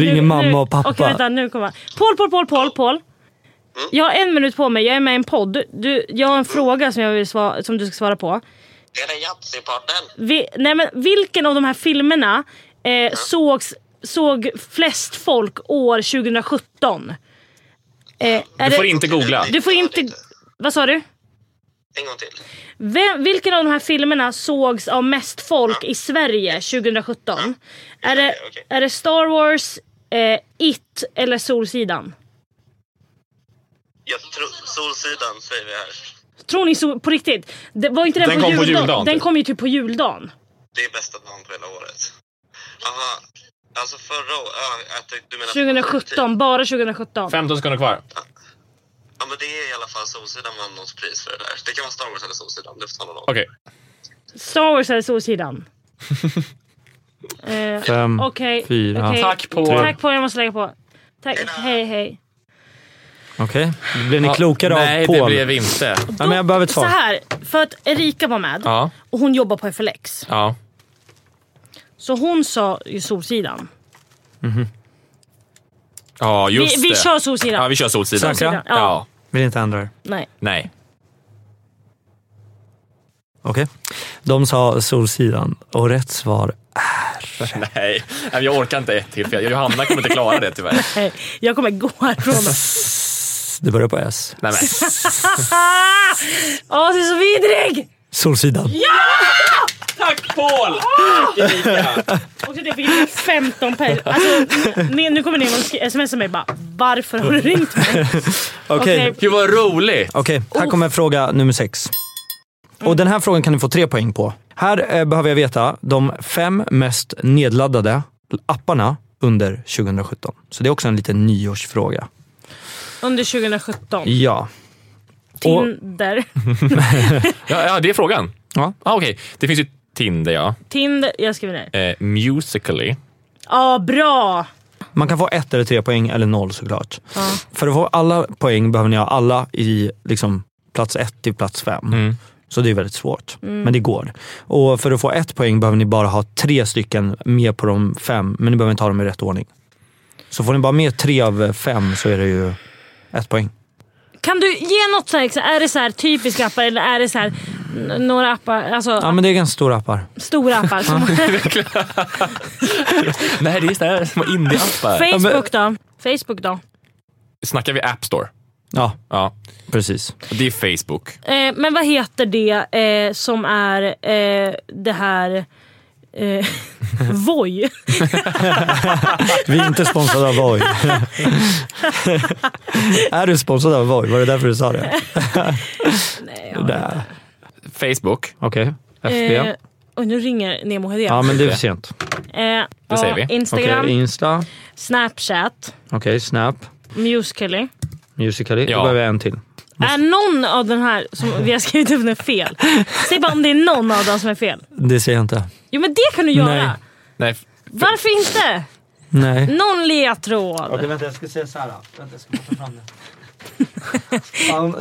[SPEAKER 1] Ringer
[SPEAKER 3] nu-
[SPEAKER 1] mamma och pappa. Mm.
[SPEAKER 3] Okej vänta, nu kommer han. Paul, Paul, Paul, Paul, Paul. Jag har en minut på mig, jag är med i en podd. Du- Du, jag har en fråga som, jag vill svara, som du ska svara på.
[SPEAKER 6] Det är den Yatzy-partnern.
[SPEAKER 3] Vi, nej men, vilken av de här filmerna eh, sågs, såg flest folk år 2017? Eh, är
[SPEAKER 4] Du får
[SPEAKER 3] det-
[SPEAKER 4] inte googla.
[SPEAKER 3] Du får inte... Vad sa du?
[SPEAKER 6] En gång till.
[SPEAKER 3] Vem, vilken av de här filmerna sågs av mest folk i Sverige 2017? Är det,
[SPEAKER 6] okej.
[SPEAKER 3] är det Star Wars, eh, It eller Solsidan?
[SPEAKER 6] Jag tror Solsidan säger vi här.
[SPEAKER 3] Tror ni så, på riktigt? Det, var inte den,
[SPEAKER 4] Den
[SPEAKER 3] på
[SPEAKER 4] kom på
[SPEAKER 3] juldagen?
[SPEAKER 4] juldagen,
[SPEAKER 3] Den
[SPEAKER 4] typ.
[SPEAKER 3] kom ju typ på juldagen.
[SPEAKER 6] Det är bästa dagen på hela året. Aha. Alltså förra året. Ja, jag tänkte- du menar
[SPEAKER 3] 2017, bara 2017.
[SPEAKER 4] 15 sekunder kvar.
[SPEAKER 6] Ja, men det är i alla fall Solsidan vann någons pris för det där. Det kan vara Star Wars eller Solsidan. Du får ta någon av dem.
[SPEAKER 4] Okej.
[SPEAKER 3] Star Wars eller Solsidan? eh,
[SPEAKER 1] Fem,
[SPEAKER 3] Okej.
[SPEAKER 1] Mm. fyra.
[SPEAKER 3] okej.
[SPEAKER 4] Tack på.
[SPEAKER 3] Tack på, jag måste lägga på. Tack. Hej hej.
[SPEAKER 1] Okej, blev ni klokare av
[SPEAKER 4] Nej,
[SPEAKER 1] Paul?
[SPEAKER 4] det blev vi inte.
[SPEAKER 1] Ja, men jag behöver ett
[SPEAKER 3] Så
[SPEAKER 1] svar.
[SPEAKER 3] här, för att Erika var med
[SPEAKER 4] Ja,
[SPEAKER 3] och hon jobbar på FLX.
[SPEAKER 4] ja.
[SPEAKER 3] Så hon sa ju Solsidan.
[SPEAKER 4] Ja,
[SPEAKER 3] Vi,
[SPEAKER 4] just
[SPEAKER 3] vi
[SPEAKER 4] det.
[SPEAKER 3] kör Solsidan.
[SPEAKER 4] Ja, vi kör Solsidan.
[SPEAKER 1] Säkra?
[SPEAKER 4] Ja.
[SPEAKER 3] Ja.
[SPEAKER 1] Vill inte ändra er.
[SPEAKER 3] Nej.
[SPEAKER 4] Nej.
[SPEAKER 1] Okej. De sa Solsidan och rätt svar
[SPEAKER 4] Nej. Nej, men jag orkar inte ett till. för jag- Johanna kommer inte klara det tyvärr.
[SPEAKER 3] Hej. eh, Jag kommer gå härifrån.
[SPEAKER 1] S- Det börjar på S.
[SPEAKER 4] Nej, men.
[SPEAKER 3] ah! Åh, du är så vidrig!
[SPEAKER 1] Solsidan.
[SPEAKER 4] Tack! Paul!
[SPEAKER 3] Och så det fick jag 15 pers. Alltså, ni- nu kommer ni och smsar mig bara “Varför har du ringt mig?”
[SPEAKER 1] Okej,
[SPEAKER 3] Okej.
[SPEAKER 4] Gud vad roligt!
[SPEAKER 1] Okej, här
[SPEAKER 3] Oh.
[SPEAKER 1] kommer fråga nummer sex. Och den här frågan kan du få tre poäng på. Här eh, behöver jag veta de fem mest nedladdade apparna under 2017. Så det är också en liten nyårsfråga.
[SPEAKER 3] Under 2017.
[SPEAKER 1] Ja. Och,
[SPEAKER 3] Tinder.
[SPEAKER 4] Ja, ja det är frågan.
[SPEAKER 1] ja.
[SPEAKER 4] Ah, Okej, det finns ju Tinder ja.
[SPEAKER 3] Tinder. Jag skriver ner.
[SPEAKER 4] Eh, Musically.
[SPEAKER 3] Ja, bra!
[SPEAKER 1] Man kan få ett eller tre poäng eller noll såklart. För att få alla poäng behöver ni ha alla i liksom, plats ett till plats fem.
[SPEAKER 4] Mm.
[SPEAKER 1] Så det är väldigt svårt. Men det går. Och för att få ett poäng behöver ni bara ha tre stycken med på de fem. Men ni behöver inte ha dem i rätt ordning. Så får ni bara med tre av fem så är det ju ett poäng.
[SPEAKER 3] Kan du ge något så här, exa- är det så här typiska appar eller är det så här n- några appar, alltså
[SPEAKER 1] Ja men det är ganska stora appar.
[SPEAKER 3] stora appar? Som
[SPEAKER 4] Nej, det är sådana här små indie-appar.
[SPEAKER 3] Facebook då? Facebook då?
[SPEAKER 4] Snackar vi App Store?
[SPEAKER 1] Ja,
[SPEAKER 4] Ja,
[SPEAKER 1] precis.
[SPEAKER 4] det är Facebook.
[SPEAKER 3] Eh, men vad heter det eh, som är eh, det här eh, Voi?
[SPEAKER 1] Vi är inte sponsrade av Voi. är du sponsrad av Voi? Var det därför du sa det?
[SPEAKER 3] Nej, jag-
[SPEAKER 1] Nej.
[SPEAKER 4] Facebook.
[SPEAKER 1] Okej, FB.
[SPEAKER 3] eh, och nu ringer Nemo Hedén.
[SPEAKER 1] ja men det är för sent.
[SPEAKER 3] eh,
[SPEAKER 4] det säger
[SPEAKER 3] ja,
[SPEAKER 4] vi.
[SPEAKER 3] Instagram,
[SPEAKER 1] Okej, Insta.
[SPEAKER 3] Snapchat,
[SPEAKER 1] Okej, Snap.
[SPEAKER 3] Musical.ly.
[SPEAKER 1] Musical.ly.
[SPEAKER 4] Ja.
[SPEAKER 1] Då behöver jag en till.
[SPEAKER 3] Är någon av den här som vi har skrivit upp nu fel? Säg bara om det är någon av dem som är fel.
[SPEAKER 1] Det ser jag inte.
[SPEAKER 3] Jo men det kan du göra.
[SPEAKER 1] Nej.
[SPEAKER 4] Nej, f-
[SPEAKER 3] Varför inte?
[SPEAKER 1] Nej.
[SPEAKER 3] Någon ledtråd.
[SPEAKER 1] vänta, jag ska säga så här. Vänta, jag ska ta fram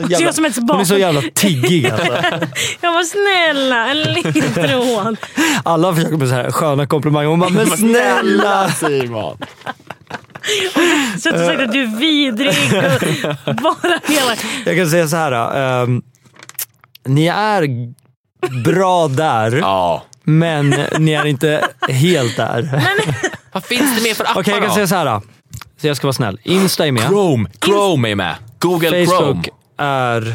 [SPEAKER 3] ser ut som ett barn.
[SPEAKER 1] Hon är så jävla tiggig alltså.
[SPEAKER 3] Jag var snälla, en ledtråd.
[SPEAKER 1] Alla försöker med så här sköna komplimanger. Hon bara, men snälla!
[SPEAKER 4] Simon.
[SPEAKER 3] Så att du sagt att du är vidrig och bara hela...
[SPEAKER 1] Jag kan säga så här. ehm, ni är bra där,
[SPEAKER 4] Ja.
[SPEAKER 1] men ni är inte helt där.
[SPEAKER 4] Vad finns det mer för appar
[SPEAKER 1] Okej, jag kan
[SPEAKER 4] då?
[SPEAKER 1] säga så här. Så jag ska vara snäll. Insta är med.
[SPEAKER 4] Chrome. Chrome är med. Google Chrome.
[SPEAKER 1] Facebook är...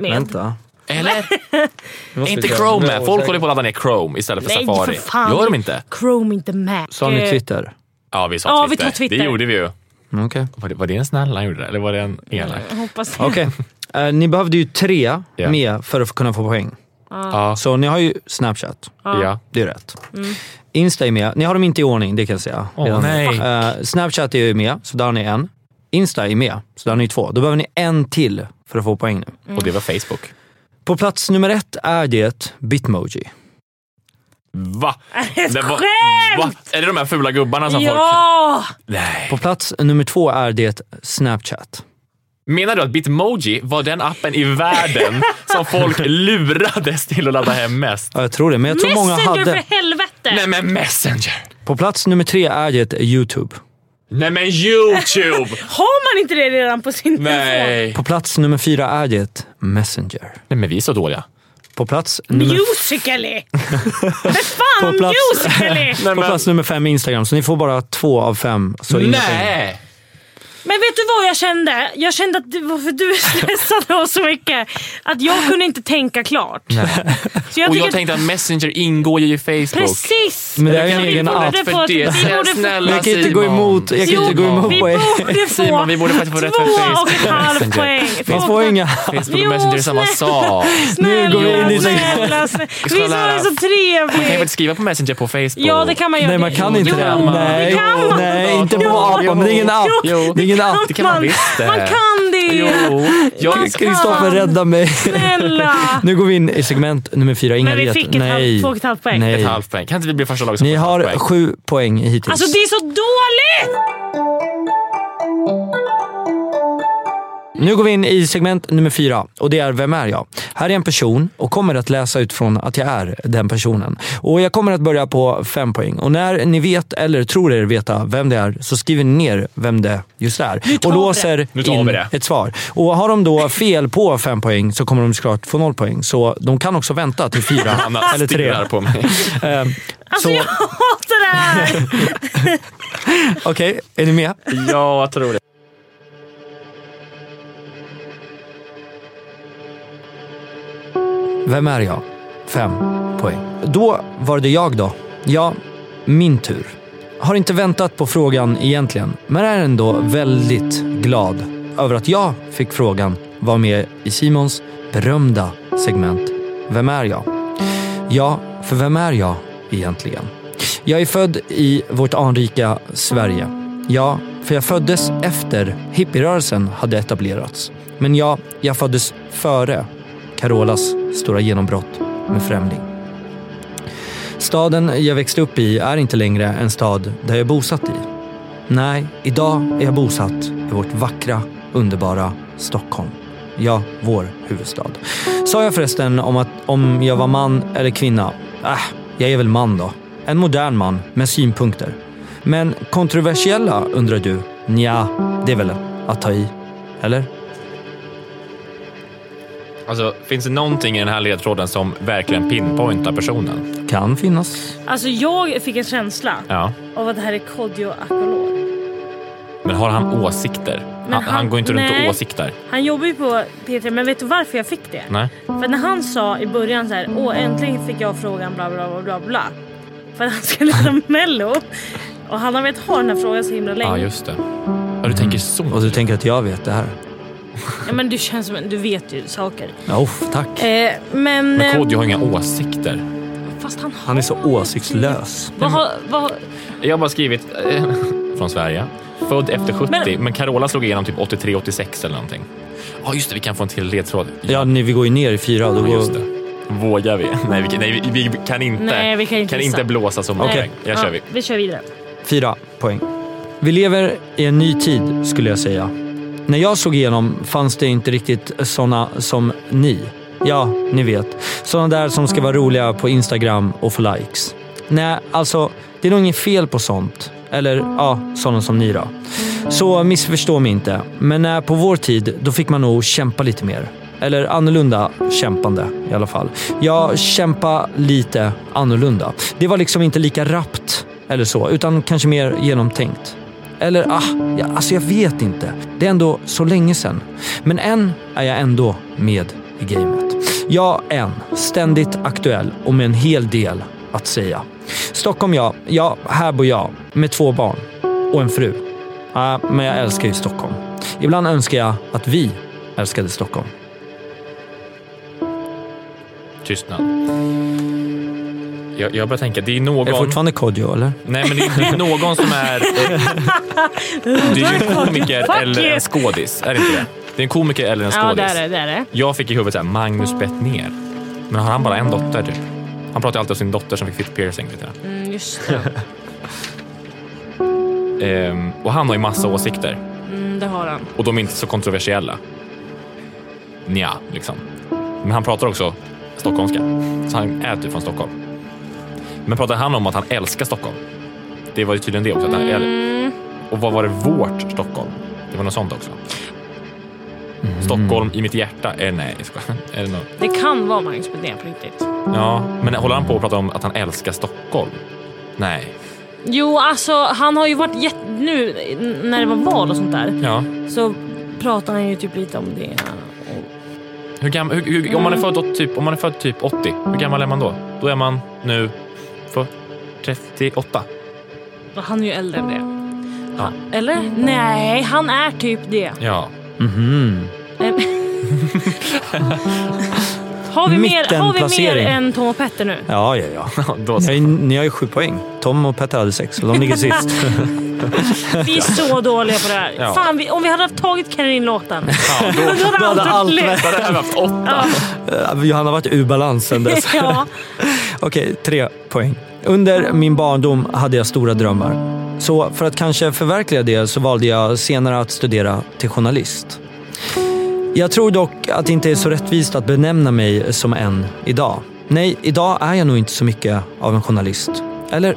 [SPEAKER 3] Med.
[SPEAKER 1] Vänta.
[SPEAKER 4] Eller?
[SPEAKER 1] Nu måste
[SPEAKER 4] inte
[SPEAKER 1] vi-
[SPEAKER 4] Chrome med. Folk håller på att ladda ner Chrome istället för
[SPEAKER 3] Nej,
[SPEAKER 4] Safari.
[SPEAKER 3] för fan.
[SPEAKER 4] Gör de inte?
[SPEAKER 3] Chrome inte med.
[SPEAKER 1] Sa ni Twitter?
[SPEAKER 4] Ja, vi sa
[SPEAKER 3] Ja, vi
[SPEAKER 4] Twitter.
[SPEAKER 3] tar Twitter.
[SPEAKER 4] Det gjorde vi ju.
[SPEAKER 1] Mm, Okej.
[SPEAKER 4] Var det, var det en snäll han gjorde det? Eller var det en elak?
[SPEAKER 3] Eh, Hoppas jag.
[SPEAKER 1] Okej. Eh, ni behövde ju tre
[SPEAKER 4] Ja.
[SPEAKER 1] med för att kunna få poäng.
[SPEAKER 3] Ah.
[SPEAKER 4] Ja.
[SPEAKER 1] Så ni har ju Snapchat.
[SPEAKER 4] ja.
[SPEAKER 1] Det är rätt.
[SPEAKER 3] Mm.
[SPEAKER 1] Insta är med. Ni har dem inte i ordning, det kan jag säga.
[SPEAKER 4] Åh,
[SPEAKER 1] Redan nu.
[SPEAKER 4] nej.
[SPEAKER 1] Eh, Snapchat är ju med, så där har ni en. Insta är med, så där har ni två. Då behöver ni en till för att få poäng nu.
[SPEAKER 3] Mm.
[SPEAKER 4] Och det var Facebook.
[SPEAKER 1] På plats nummer ett är det Bitmoji.
[SPEAKER 4] Va?
[SPEAKER 3] Ett
[SPEAKER 4] Det var-
[SPEAKER 3] skämt!
[SPEAKER 4] Va? Är det de här fula gubbarna som folk...
[SPEAKER 3] Ja!
[SPEAKER 4] Nej.
[SPEAKER 1] På plats nummer två är det Snapchat.
[SPEAKER 4] Menar du att Bitmoji var den appen i världen som folk lurades till att ladda hem mest?
[SPEAKER 1] Ja, jag tror det, men jag tror många
[SPEAKER 3] Messenger
[SPEAKER 1] hade...
[SPEAKER 3] för helvete!
[SPEAKER 4] Nej men Messenger!
[SPEAKER 1] På plats nummer tre är det Youtube.
[SPEAKER 4] Nej men YouTube!
[SPEAKER 3] Har man inte det redan på sin telefon?
[SPEAKER 4] Nej.
[SPEAKER 1] På plats nummer fyra är det Messenger.
[SPEAKER 4] Nej men vi är så dåliga.
[SPEAKER 1] På plats nummer
[SPEAKER 3] Musical.ly! Men fan om
[SPEAKER 1] På plats-
[SPEAKER 3] Musical.ly!
[SPEAKER 4] Nej,
[SPEAKER 1] På
[SPEAKER 4] men-
[SPEAKER 1] plats nummer fem är Instagram, så ni får bara två av fem. Så inga poäng.
[SPEAKER 4] Nej!
[SPEAKER 3] Men vet du vad jag kände? Jag kände att du, varför du stressade oss så mycket. Att jag kunde inte tänka klart. Så jag
[SPEAKER 4] Och
[SPEAKER 3] tycker
[SPEAKER 4] jag tänkte att Messenger ingår ju i
[SPEAKER 3] att,
[SPEAKER 4] Facebook.
[SPEAKER 3] precis!
[SPEAKER 1] Men det är ju
[SPEAKER 4] Kan
[SPEAKER 1] en
[SPEAKER 4] vi
[SPEAKER 1] egen
[SPEAKER 4] få
[SPEAKER 1] app.
[SPEAKER 4] rätt
[SPEAKER 3] Vi
[SPEAKER 4] för
[SPEAKER 3] borde få-
[SPEAKER 4] det? Snälla,
[SPEAKER 3] vi borde få-
[SPEAKER 4] snälla
[SPEAKER 1] Jag kan inte gå
[SPEAKER 4] Simon.
[SPEAKER 1] emot, jag kan
[SPEAKER 3] Jo,
[SPEAKER 1] inte gå emot
[SPEAKER 3] vi
[SPEAKER 1] poäng.
[SPEAKER 3] borde få
[SPEAKER 4] Simon, vi borde faktiskt få rätt för
[SPEAKER 3] två och
[SPEAKER 4] Facebook
[SPEAKER 3] en halv
[SPEAKER 4] Messenger.
[SPEAKER 3] poäng.
[SPEAKER 1] Man
[SPEAKER 3] Och-
[SPEAKER 1] får inga...
[SPEAKER 4] Facebook
[SPEAKER 3] Jo,
[SPEAKER 4] och Messenger är samma
[SPEAKER 3] snälla.
[SPEAKER 4] sak.
[SPEAKER 1] Nu går vi in i-
[SPEAKER 3] Snälla, snälla, snälla. Visst var det så
[SPEAKER 4] Man kan ju
[SPEAKER 3] trevligt?
[SPEAKER 4] inte skriva på Messenger på Facebook.
[SPEAKER 3] Ja, det kan man göra.
[SPEAKER 1] Nej, man kan
[SPEAKER 3] Jo,
[SPEAKER 1] inte
[SPEAKER 3] jo,
[SPEAKER 1] det.
[SPEAKER 3] det.
[SPEAKER 1] Nej,
[SPEAKER 3] kan man.
[SPEAKER 1] nej inte på
[SPEAKER 4] Jo.
[SPEAKER 1] appen. Men det är ingen app.
[SPEAKER 4] Jo.
[SPEAKER 1] Det är ingen app.
[SPEAKER 4] Det kan man visst det.
[SPEAKER 3] Man kan det!
[SPEAKER 4] Jo. Jag,
[SPEAKER 1] Kristoffer, rädda mig.
[SPEAKER 3] Snälla!
[SPEAKER 1] Nu går vi in i segment nummer fyra. Inga
[SPEAKER 3] Men vi
[SPEAKER 1] ret-
[SPEAKER 3] fick ett
[SPEAKER 1] Nej.
[SPEAKER 3] halv, två och ett halvt poäng.
[SPEAKER 4] ett
[SPEAKER 1] Nej.
[SPEAKER 4] halvt poäng. Kan inte vi bli första laget som
[SPEAKER 1] Ni
[SPEAKER 4] får ett halvt
[SPEAKER 1] har
[SPEAKER 4] poäng?
[SPEAKER 1] sju poäng hittills.
[SPEAKER 3] Alltså det är så dåligt!
[SPEAKER 1] Nu går vi in i segment nummer fyra och det är Vem är jag? Här är en person och kommer att läsa utifrån att jag är den personen. Och jag kommer att börja på fem poäng. Och när ni vet eller tror er veta vem det är så skriver ni ner vem det just är.
[SPEAKER 3] tar
[SPEAKER 1] Och
[SPEAKER 3] vi
[SPEAKER 1] låser
[SPEAKER 4] Nu tar
[SPEAKER 1] in
[SPEAKER 4] vi det.
[SPEAKER 1] ett svar. Och har de då fel på fem poäng så kommer de såklart få noll poäng. Så de kan också vänta till fyra
[SPEAKER 4] Hanna
[SPEAKER 1] eller tre.
[SPEAKER 4] stirrar på mig.
[SPEAKER 1] Eh,
[SPEAKER 3] Alltså
[SPEAKER 1] Så-
[SPEAKER 3] jag hatar det här!
[SPEAKER 1] Okej, är ni med?
[SPEAKER 4] ja, jag tror det.
[SPEAKER 1] Vem är jag? Fem poäng. Då var det jag då. Ja, min tur. Har inte väntat på frågan egentligen, men är ändå väldigt glad över att jag fick frågan var med i Simons berömda segment Vem är jag? Ja, för vem är jag egentligen? Jag är född i vårt anrika Sverige. Ja, för jag föddes efter hippierörelsen hade etablerats. Men ja, jag föddes före Carolas stora genombrott med Främling. Staden jag växte upp i är inte längre en stad där jag är bosatt i. Nej, idag är jag bosatt i vårt vackra, underbara Stockholm. Ja, vår huvudstad. Sa jag förresten om att om jag var man eller kvinna? Äh, jag är väl man då. En modern man med synpunkter. Men kontroversiella undrar du? Nja, det är väl att ta i. Eller?
[SPEAKER 4] Alltså, finns det någonting i den här ledtråden som verkligen pinpointar personen?
[SPEAKER 1] Kan finnas.
[SPEAKER 3] Alltså jag fick en känsla
[SPEAKER 4] Ja.
[SPEAKER 3] av att det här är Kodjo Akolor.
[SPEAKER 4] Men har han åsikter?
[SPEAKER 3] Men
[SPEAKER 4] Han, han,
[SPEAKER 3] han-
[SPEAKER 4] går inte runt
[SPEAKER 3] nej.
[SPEAKER 4] och åsiktar.
[SPEAKER 3] Han jobbar ju på P3 men vet du varför jag fick det?
[SPEAKER 4] Nej.
[SPEAKER 3] För när han sa i början så här, åh äntligen fick jag frågan bla bla bla bla bla. För att han ska lyssna på mello. Och han har velat ha den här frågan så himla
[SPEAKER 4] Ja,
[SPEAKER 3] länge.
[SPEAKER 4] just det. Ja, du tänker så.
[SPEAKER 1] Mm. Och du tänker att jag vet det här?
[SPEAKER 3] Ja, men du känns som en- du vet ju saker.
[SPEAKER 1] Ja, uff, tack.
[SPEAKER 3] Eh, men...
[SPEAKER 4] Men
[SPEAKER 3] eh,
[SPEAKER 4] Kodjo har inga åsikter.
[SPEAKER 3] Fast han har...
[SPEAKER 1] Han är så åsiktslös.
[SPEAKER 3] Vad har... Vad har...
[SPEAKER 4] Jag har bara skrivit eh, från Sverige. Född efter 70, men,
[SPEAKER 3] Men-
[SPEAKER 4] Carola slog igenom typ 83-86 eller någonting. Ja, just det. Vi kan få en till ledtråd.
[SPEAKER 1] Ja, ni, vi går ju ner i fyra. Då
[SPEAKER 4] Ja,
[SPEAKER 1] går...
[SPEAKER 4] just det. Vågar vi? Nej, vi, nej, vi, vi kan inte.
[SPEAKER 3] Nej, vi kan inte gissa.
[SPEAKER 4] blåsa så många
[SPEAKER 3] Nej.
[SPEAKER 4] poäng. Jag kör
[SPEAKER 3] Ja,
[SPEAKER 4] vi.
[SPEAKER 3] Vi kör vidare.
[SPEAKER 1] Fyra poäng. Vi lever i en ny tid skulle jag säga. När jag slog igenom fanns det inte riktigt såna som ni. Ja, ni vet. Såna där som ska vara roliga på Instagram och få likes. Nej, alltså det är nog inget fel på sånt. Eller ja, sådana som ni då. Så missförstå mig inte. Men eh, på vår tid, då fick man nog kämpa lite mer. Eller annorlunda kämpande i alla fall. Ja, kämpa lite annorlunda. Det var liksom inte lika rappt eller så, utan kanske mer genomtänkt. Eller ah, ja, alltså jag vet inte. Det är ändå så länge sedan. Men än är jag ändå med i gamet. Jag än, ständigt aktuell och med en hel del att säga. Stockholm ja, ja, här bor jag med två barn och en fru. Ja, men jag älskar ju Stockholm. Ibland önskar jag att vi älskade Stockholm.
[SPEAKER 4] Tystnad. Jag, jag börjar tänka, det är någon...
[SPEAKER 1] Är det fortfarande Kodjo eller?
[SPEAKER 4] Nej, men det är, det är någon som är... Det är ju en komiker
[SPEAKER 3] Fuck
[SPEAKER 4] eller
[SPEAKER 3] you.
[SPEAKER 4] en skådis. Är det inte det? Det är en komiker eller en
[SPEAKER 3] Ja,
[SPEAKER 4] skådis.
[SPEAKER 3] där är det. Där är det.
[SPEAKER 4] Jag fick i huvudet så här, Magnus Bettner. Men har han bara en dotter typ? Han pratar ju alltid om sin dotter som fick fit piercing. Vet jag.
[SPEAKER 3] Mm, just det.
[SPEAKER 4] Ehm, och han har ju massa åsikter.
[SPEAKER 3] Mm, det har han.
[SPEAKER 4] Och de är inte så kontroversiella. Nja, liksom. Men han pratar också stockholmska. Så han är typ från Stockholm. Men pratar han om att han älskar Stockholm? Det var ju tydligen det också. Att han äl- Och vad var det vårt Stockholm? Det var något sånt också. Stockholm i mitt hjärta? Eh, nej, jag skojar. Är det något?
[SPEAKER 3] Det kan vara Magnus Betnér på riktigt.
[SPEAKER 4] Ja, men håller han på att prata om att han älskar Stockholm? Nej.
[SPEAKER 3] Jo, alltså han har ju varit jätte... Nu n- när det var val och sånt där
[SPEAKER 4] Ja.
[SPEAKER 3] så pratar han ju typ lite om det.
[SPEAKER 4] Hur gam- hur, hur, om, man är född åt typ, om man är född typ 80, hur gammal är man då? Då är man nu för 38.
[SPEAKER 3] Och han är ju äldre än det. Eller?
[SPEAKER 4] Mm.
[SPEAKER 3] Nej, han är typ det.
[SPEAKER 4] Ja.
[SPEAKER 1] Mhm.
[SPEAKER 3] Eh, har, vi mer, har vi mer
[SPEAKER 1] Mittenplacering.
[SPEAKER 3] än Tom och Petter nu?
[SPEAKER 1] Ja, ja, ja.
[SPEAKER 4] Då
[SPEAKER 1] Ni har ju- Ni har ju sju poäng. Tom och Petter hade sex och de ligger sist.
[SPEAKER 3] Vi är så dåliga på det här.
[SPEAKER 4] Ja.
[SPEAKER 3] Fan, vi, om vi hade tagit Karin-låten.
[SPEAKER 4] ja, då
[SPEAKER 3] Då
[SPEAKER 1] hade
[SPEAKER 3] hade allt
[SPEAKER 1] allt
[SPEAKER 3] varit lätt.
[SPEAKER 1] varit-
[SPEAKER 4] hade jag haft åtta.
[SPEAKER 1] Eh, Johanna har varit ur balans sen dess.
[SPEAKER 3] Ja.
[SPEAKER 1] Okej, tre poäng. Under min barndom hade jag stora drömmar. Så för att kanske förverkliga det så valde jag senare att studera till journalist. Jag tror dock att det inte är så rättvist att benämna mig som en idag. Nej, idag är jag nog inte så mycket av en journalist. Eller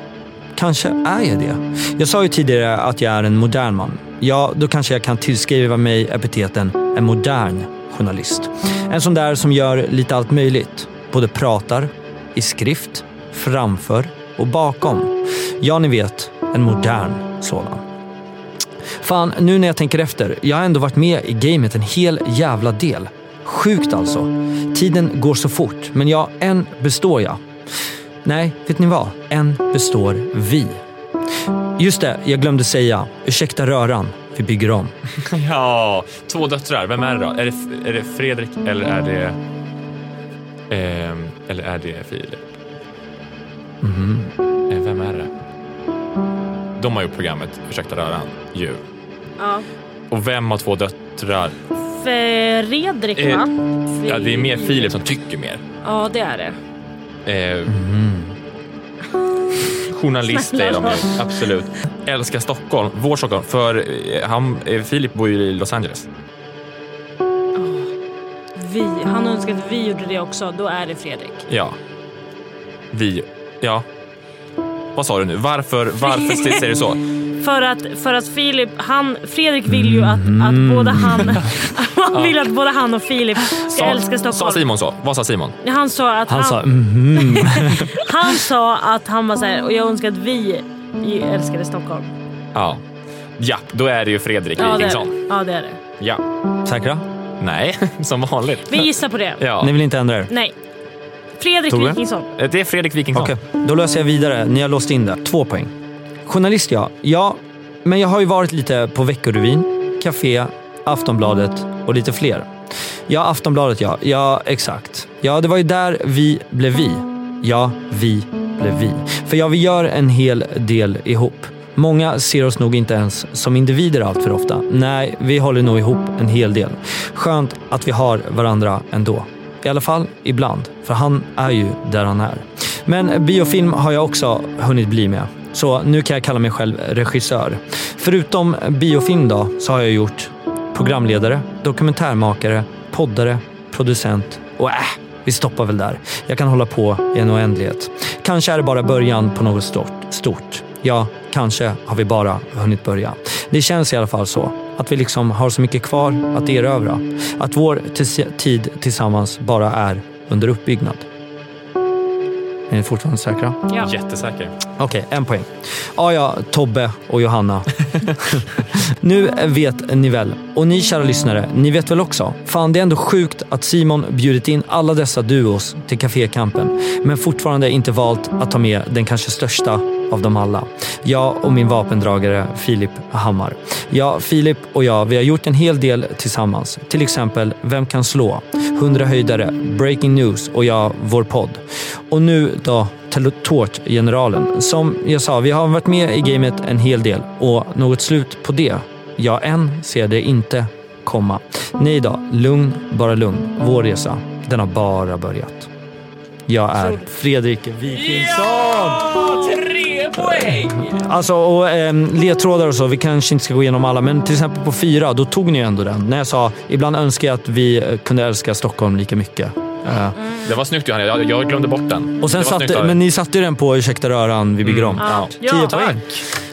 [SPEAKER 1] kanske är jag det. Jag sa ju tidigare att jag är en modern man. Ja, då kanske jag kan tillskriva mig epiteten en modern journalist. En sån där som gör lite allt möjligt. Både pratar, i skrift, framför och bakom. Ja, ni vet, en modern sådan. Fan, nu när jag tänker efter. Jag har ändå varit med i gamet en hel jävla del. Sjukt alltså. Tiden går så fort, men ja, än består jag. Nej, vet ni vad? Än består vi. Just det, jag glömde säga. Ursäkta röran, vi bygger om.
[SPEAKER 4] Ja, två döttrar. Vem är det då? Är det, är det Fredrik eller är det... ehm, eller är det Filip? Eh, Vem är det? De har gjort programmet Ursäkta röran ju.
[SPEAKER 3] Ja.
[SPEAKER 4] Och vem har två döttrar?
[SPEAKER 3] Fredrik
[SPEAKER 4] Eh,
[SPEAKER 3] va?
[SPEAKER 4] Ja, det är mer
[SPEAKER 3] Filip.
[SPEAKER 4] Filip som tycker mer.
[SPEAKER 3] Ja det är det.
[SPEAKER 4] Eh, Journalister är de ju, absolut. Älskar Stockholm, vår Stockholm. För eh, han, eh, Filip bor ju i Los Angeles.
[SPEAKER 3] Vi. Han önskar att vi gjorde det också. Då är det Fredrik.
[SPEAKER 4] Ja. Vi. Ja. Vad sa du nu? Varför, varför säger du så?
[SPEAKER 3] För att, för att Filip, han, Fredrik vill ju att, att både han, han vill att både han och Filip ska älska
[SPEAKER 4] Sa
[SPEAKER 3] Stockholm.
[SPEAKER 4] Simon så? Vad sa Simon?
[SPEAKER 3] Han sa att han,
[SPEAKER 1] Han sa mhm.
[SPEAKER 3] han sa att han var så här, och jag önskar att vi ju älskade Stockholm.
[SPEAKER 4] Ja. Ja, då är det ju Fredrik
[SPEAKER 3] Ja det är
[SPEAKER 4] Wikingsson.
[SPEAKER 3] det. Ja, det, är det.
[SPEAKER 4] Ja.
[SPEAKER 1] Säkra?
[SPEAKER 4] Nej, som vanligt.
[SPEAKER 3] Vi gissar på det.
[SPEAKER 4] Ja.
[SPEAKER 1] Ni vill inte ändra er?
[SPEAKER 3] Nej. Fredrik
[SPEAKER 4] Tove?
[SPEAKER 3] Wikingsson.
[SPEAKER 4] Eh, Det är Fredrik Wikingsson.
[SPEAKER 1] Okej, då löser jag vidare. Ni har låst in det. Två poäng. Journalist ja. Ja, men jag har ju varit lite på Veckorevyn, Café, Aftonbladet och lite fler. Ja, Aftonbladet ja. Ja, exakt. Ja, det var ju där vi blev vi. Ja, vi blev vi. För ja, vi gör en hel del ihop. Många ser oss nog inte ens som individer allt för ofta. Nej, vi håller nog ihop en hel del. Skönt att vi har varandra ändå. I alla fall ibland, för han är ju där han är. Men biofilm har jag också hunnit bli med. Så nu kan jag kalla mig själv regissör. Förutom biofilm då, så har jag gjort programledare, dokumentärmakare, poddare, producent och äh, vi stoppar väl där. Jag kan hålla på i en oändlighet. Kanske är det bara början på något stort. stort. Ja, kanske har vi bara hunnit börja. Det känns i alla fall så. Att vi liksom har så mycket kvar att erövra. Att vår tis- tid tillsammans bara är under uppbyggnad. Är ni fortfarande säkra?
[SPEAKER 3] Ja.
[SPEAKER 4] Jättesäker.
[SPEAKER 1] Okej, en poäng. Ja, ja, Tobbe och Johanna. nu vet ni väl, och ni kära lyssnare, ni vet väl också? Fan, det är ändå sjukt att Simon bjudit in alla dessa duos till Cafékampen, men fortfarande inte valt att ta med den kanske största av dem alla. Jag och min vapendragare Filip Hammar. Ja, Filip och jag, vi har gjort en hel del tillsammans. Till exempel Vem kan slå? 100 höjdare, Breaking News och jag, vår podd. Och nu då Tel- Tårtgeneralen. Som jag sa, vi har varit med i gamet en hel del och något slut på det, ja än ser det inte komma. Nej då, lugn, bara lugn. Vår resa, den har bara börjat. Jag är Fredrik Wikingsson.
[SPEAKER 4] Tre poäng!
[SPEAKER 1] Alltså, och ehm, ledtrådar och så, vi kanske inte ska gå igenom alla, men till exempel på fyra, då tog ni ju ändå den. När jag sa, ibland önskar jag att vi eh, kunde älska Stockholm lika mycket. Eh,
[SPEAKER 4] Det var snyggt Johanna, jag, jag glömde bort den.
[SPEAKER 1] och sen
[SPEAKER 4] det var snyggt
[SPEAKER 1] satte,
[SPEAKER 4] av dig.
[SPEAKER 1] men ni satte ju den på Ursäkta röran, vi bygger om.
[SPEAKER 4] Ja.
[SPEAKER 3] Ja.
[SPEAKER 1] Tio
[SPEAKER 3] Tack.
[SPEAKER 1] poäng.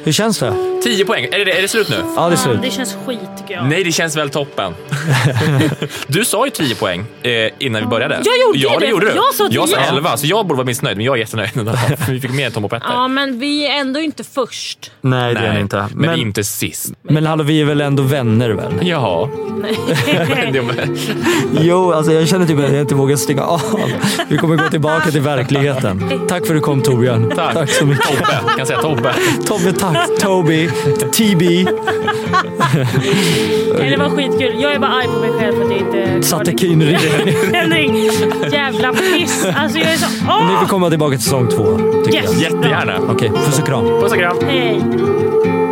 [SPEAKER 1] Hur känns det?
[SPEAKER 4] Tio poäng, är det, är det slut nu?
[SPEAKER 1] Ja, det är
[SPEAKER 3] Fan,
[SPEAKER 1] slut.
[SPEAKER 3] det känns skit tycker jag.
[SPEAKER 4] Nej, det känns väl toppen. du sa ju 10 poäng eh, innan vi började.
[SPEAKER 3] Jag gjorde
[SPEAKER 4] ja, det.
[SPEAKER 3] det.
[SPEAKER 4] Gjorde du.
[SPEAKER 3] Jag sa
[SPEAKER 4] jag sa
[SPEAKER 3] 10.
[SPEAKER 4] 11, så jag borde vara missnöjd, men jag är jättenöjd. ändå, för vi fick mer än Tom och Petter.
[SPEAKER 3] Ja men vi är ändå inte först.
[SPEAKER 1] Nej, det är ni inte.
[SPEAKER 4] Men,
[SPEAKER 1] Men,
[SPEAKER 4] vi är inte sist.
[SPEAKER 1] men hallå, vi är väl ändå vänner väl?
[SPEAKER 4] Ja.
[SPEAKER 3] Nej.
[SPEAKER 1] Jo, alltså jag känner typ att jag inte vågar stänga av. Vi kommer gå tillbaka till verkligheten. Tack för att du kom Torbjörn.
[SPEAKER 4] Tack.
[SPEAKER 1] tack så mycket.
[SPEAKER 4] Tobbe, kan jag säga Tobbe.
[SPEAKER 1] Tobbe, tack. Toby, TB,
[SPEAKER 3] Nej, det var skitkul. Jag är bara arg på mig själv för att jag inte
[SPEAKER 1] satte
[SPEAKER 3] kvar
[SPEAKER 1] Kynri.
[SPEAKER 3] din tändning. Jävla piss. Alltså jag är så...
[SPEAKER 1] Ni får
[SPEAKER 3] Åh!
[SPEAKER 1] komma tillbaka till säsong två, tycker jag.
[SPEAKER 3] Yes.
[SPEAKER 4] Jättegärna.
[SPEAKER 1] Okej, puss och kram.
[SPEAKER 4] Puss och kram.
[SPEAKER 3] Hej!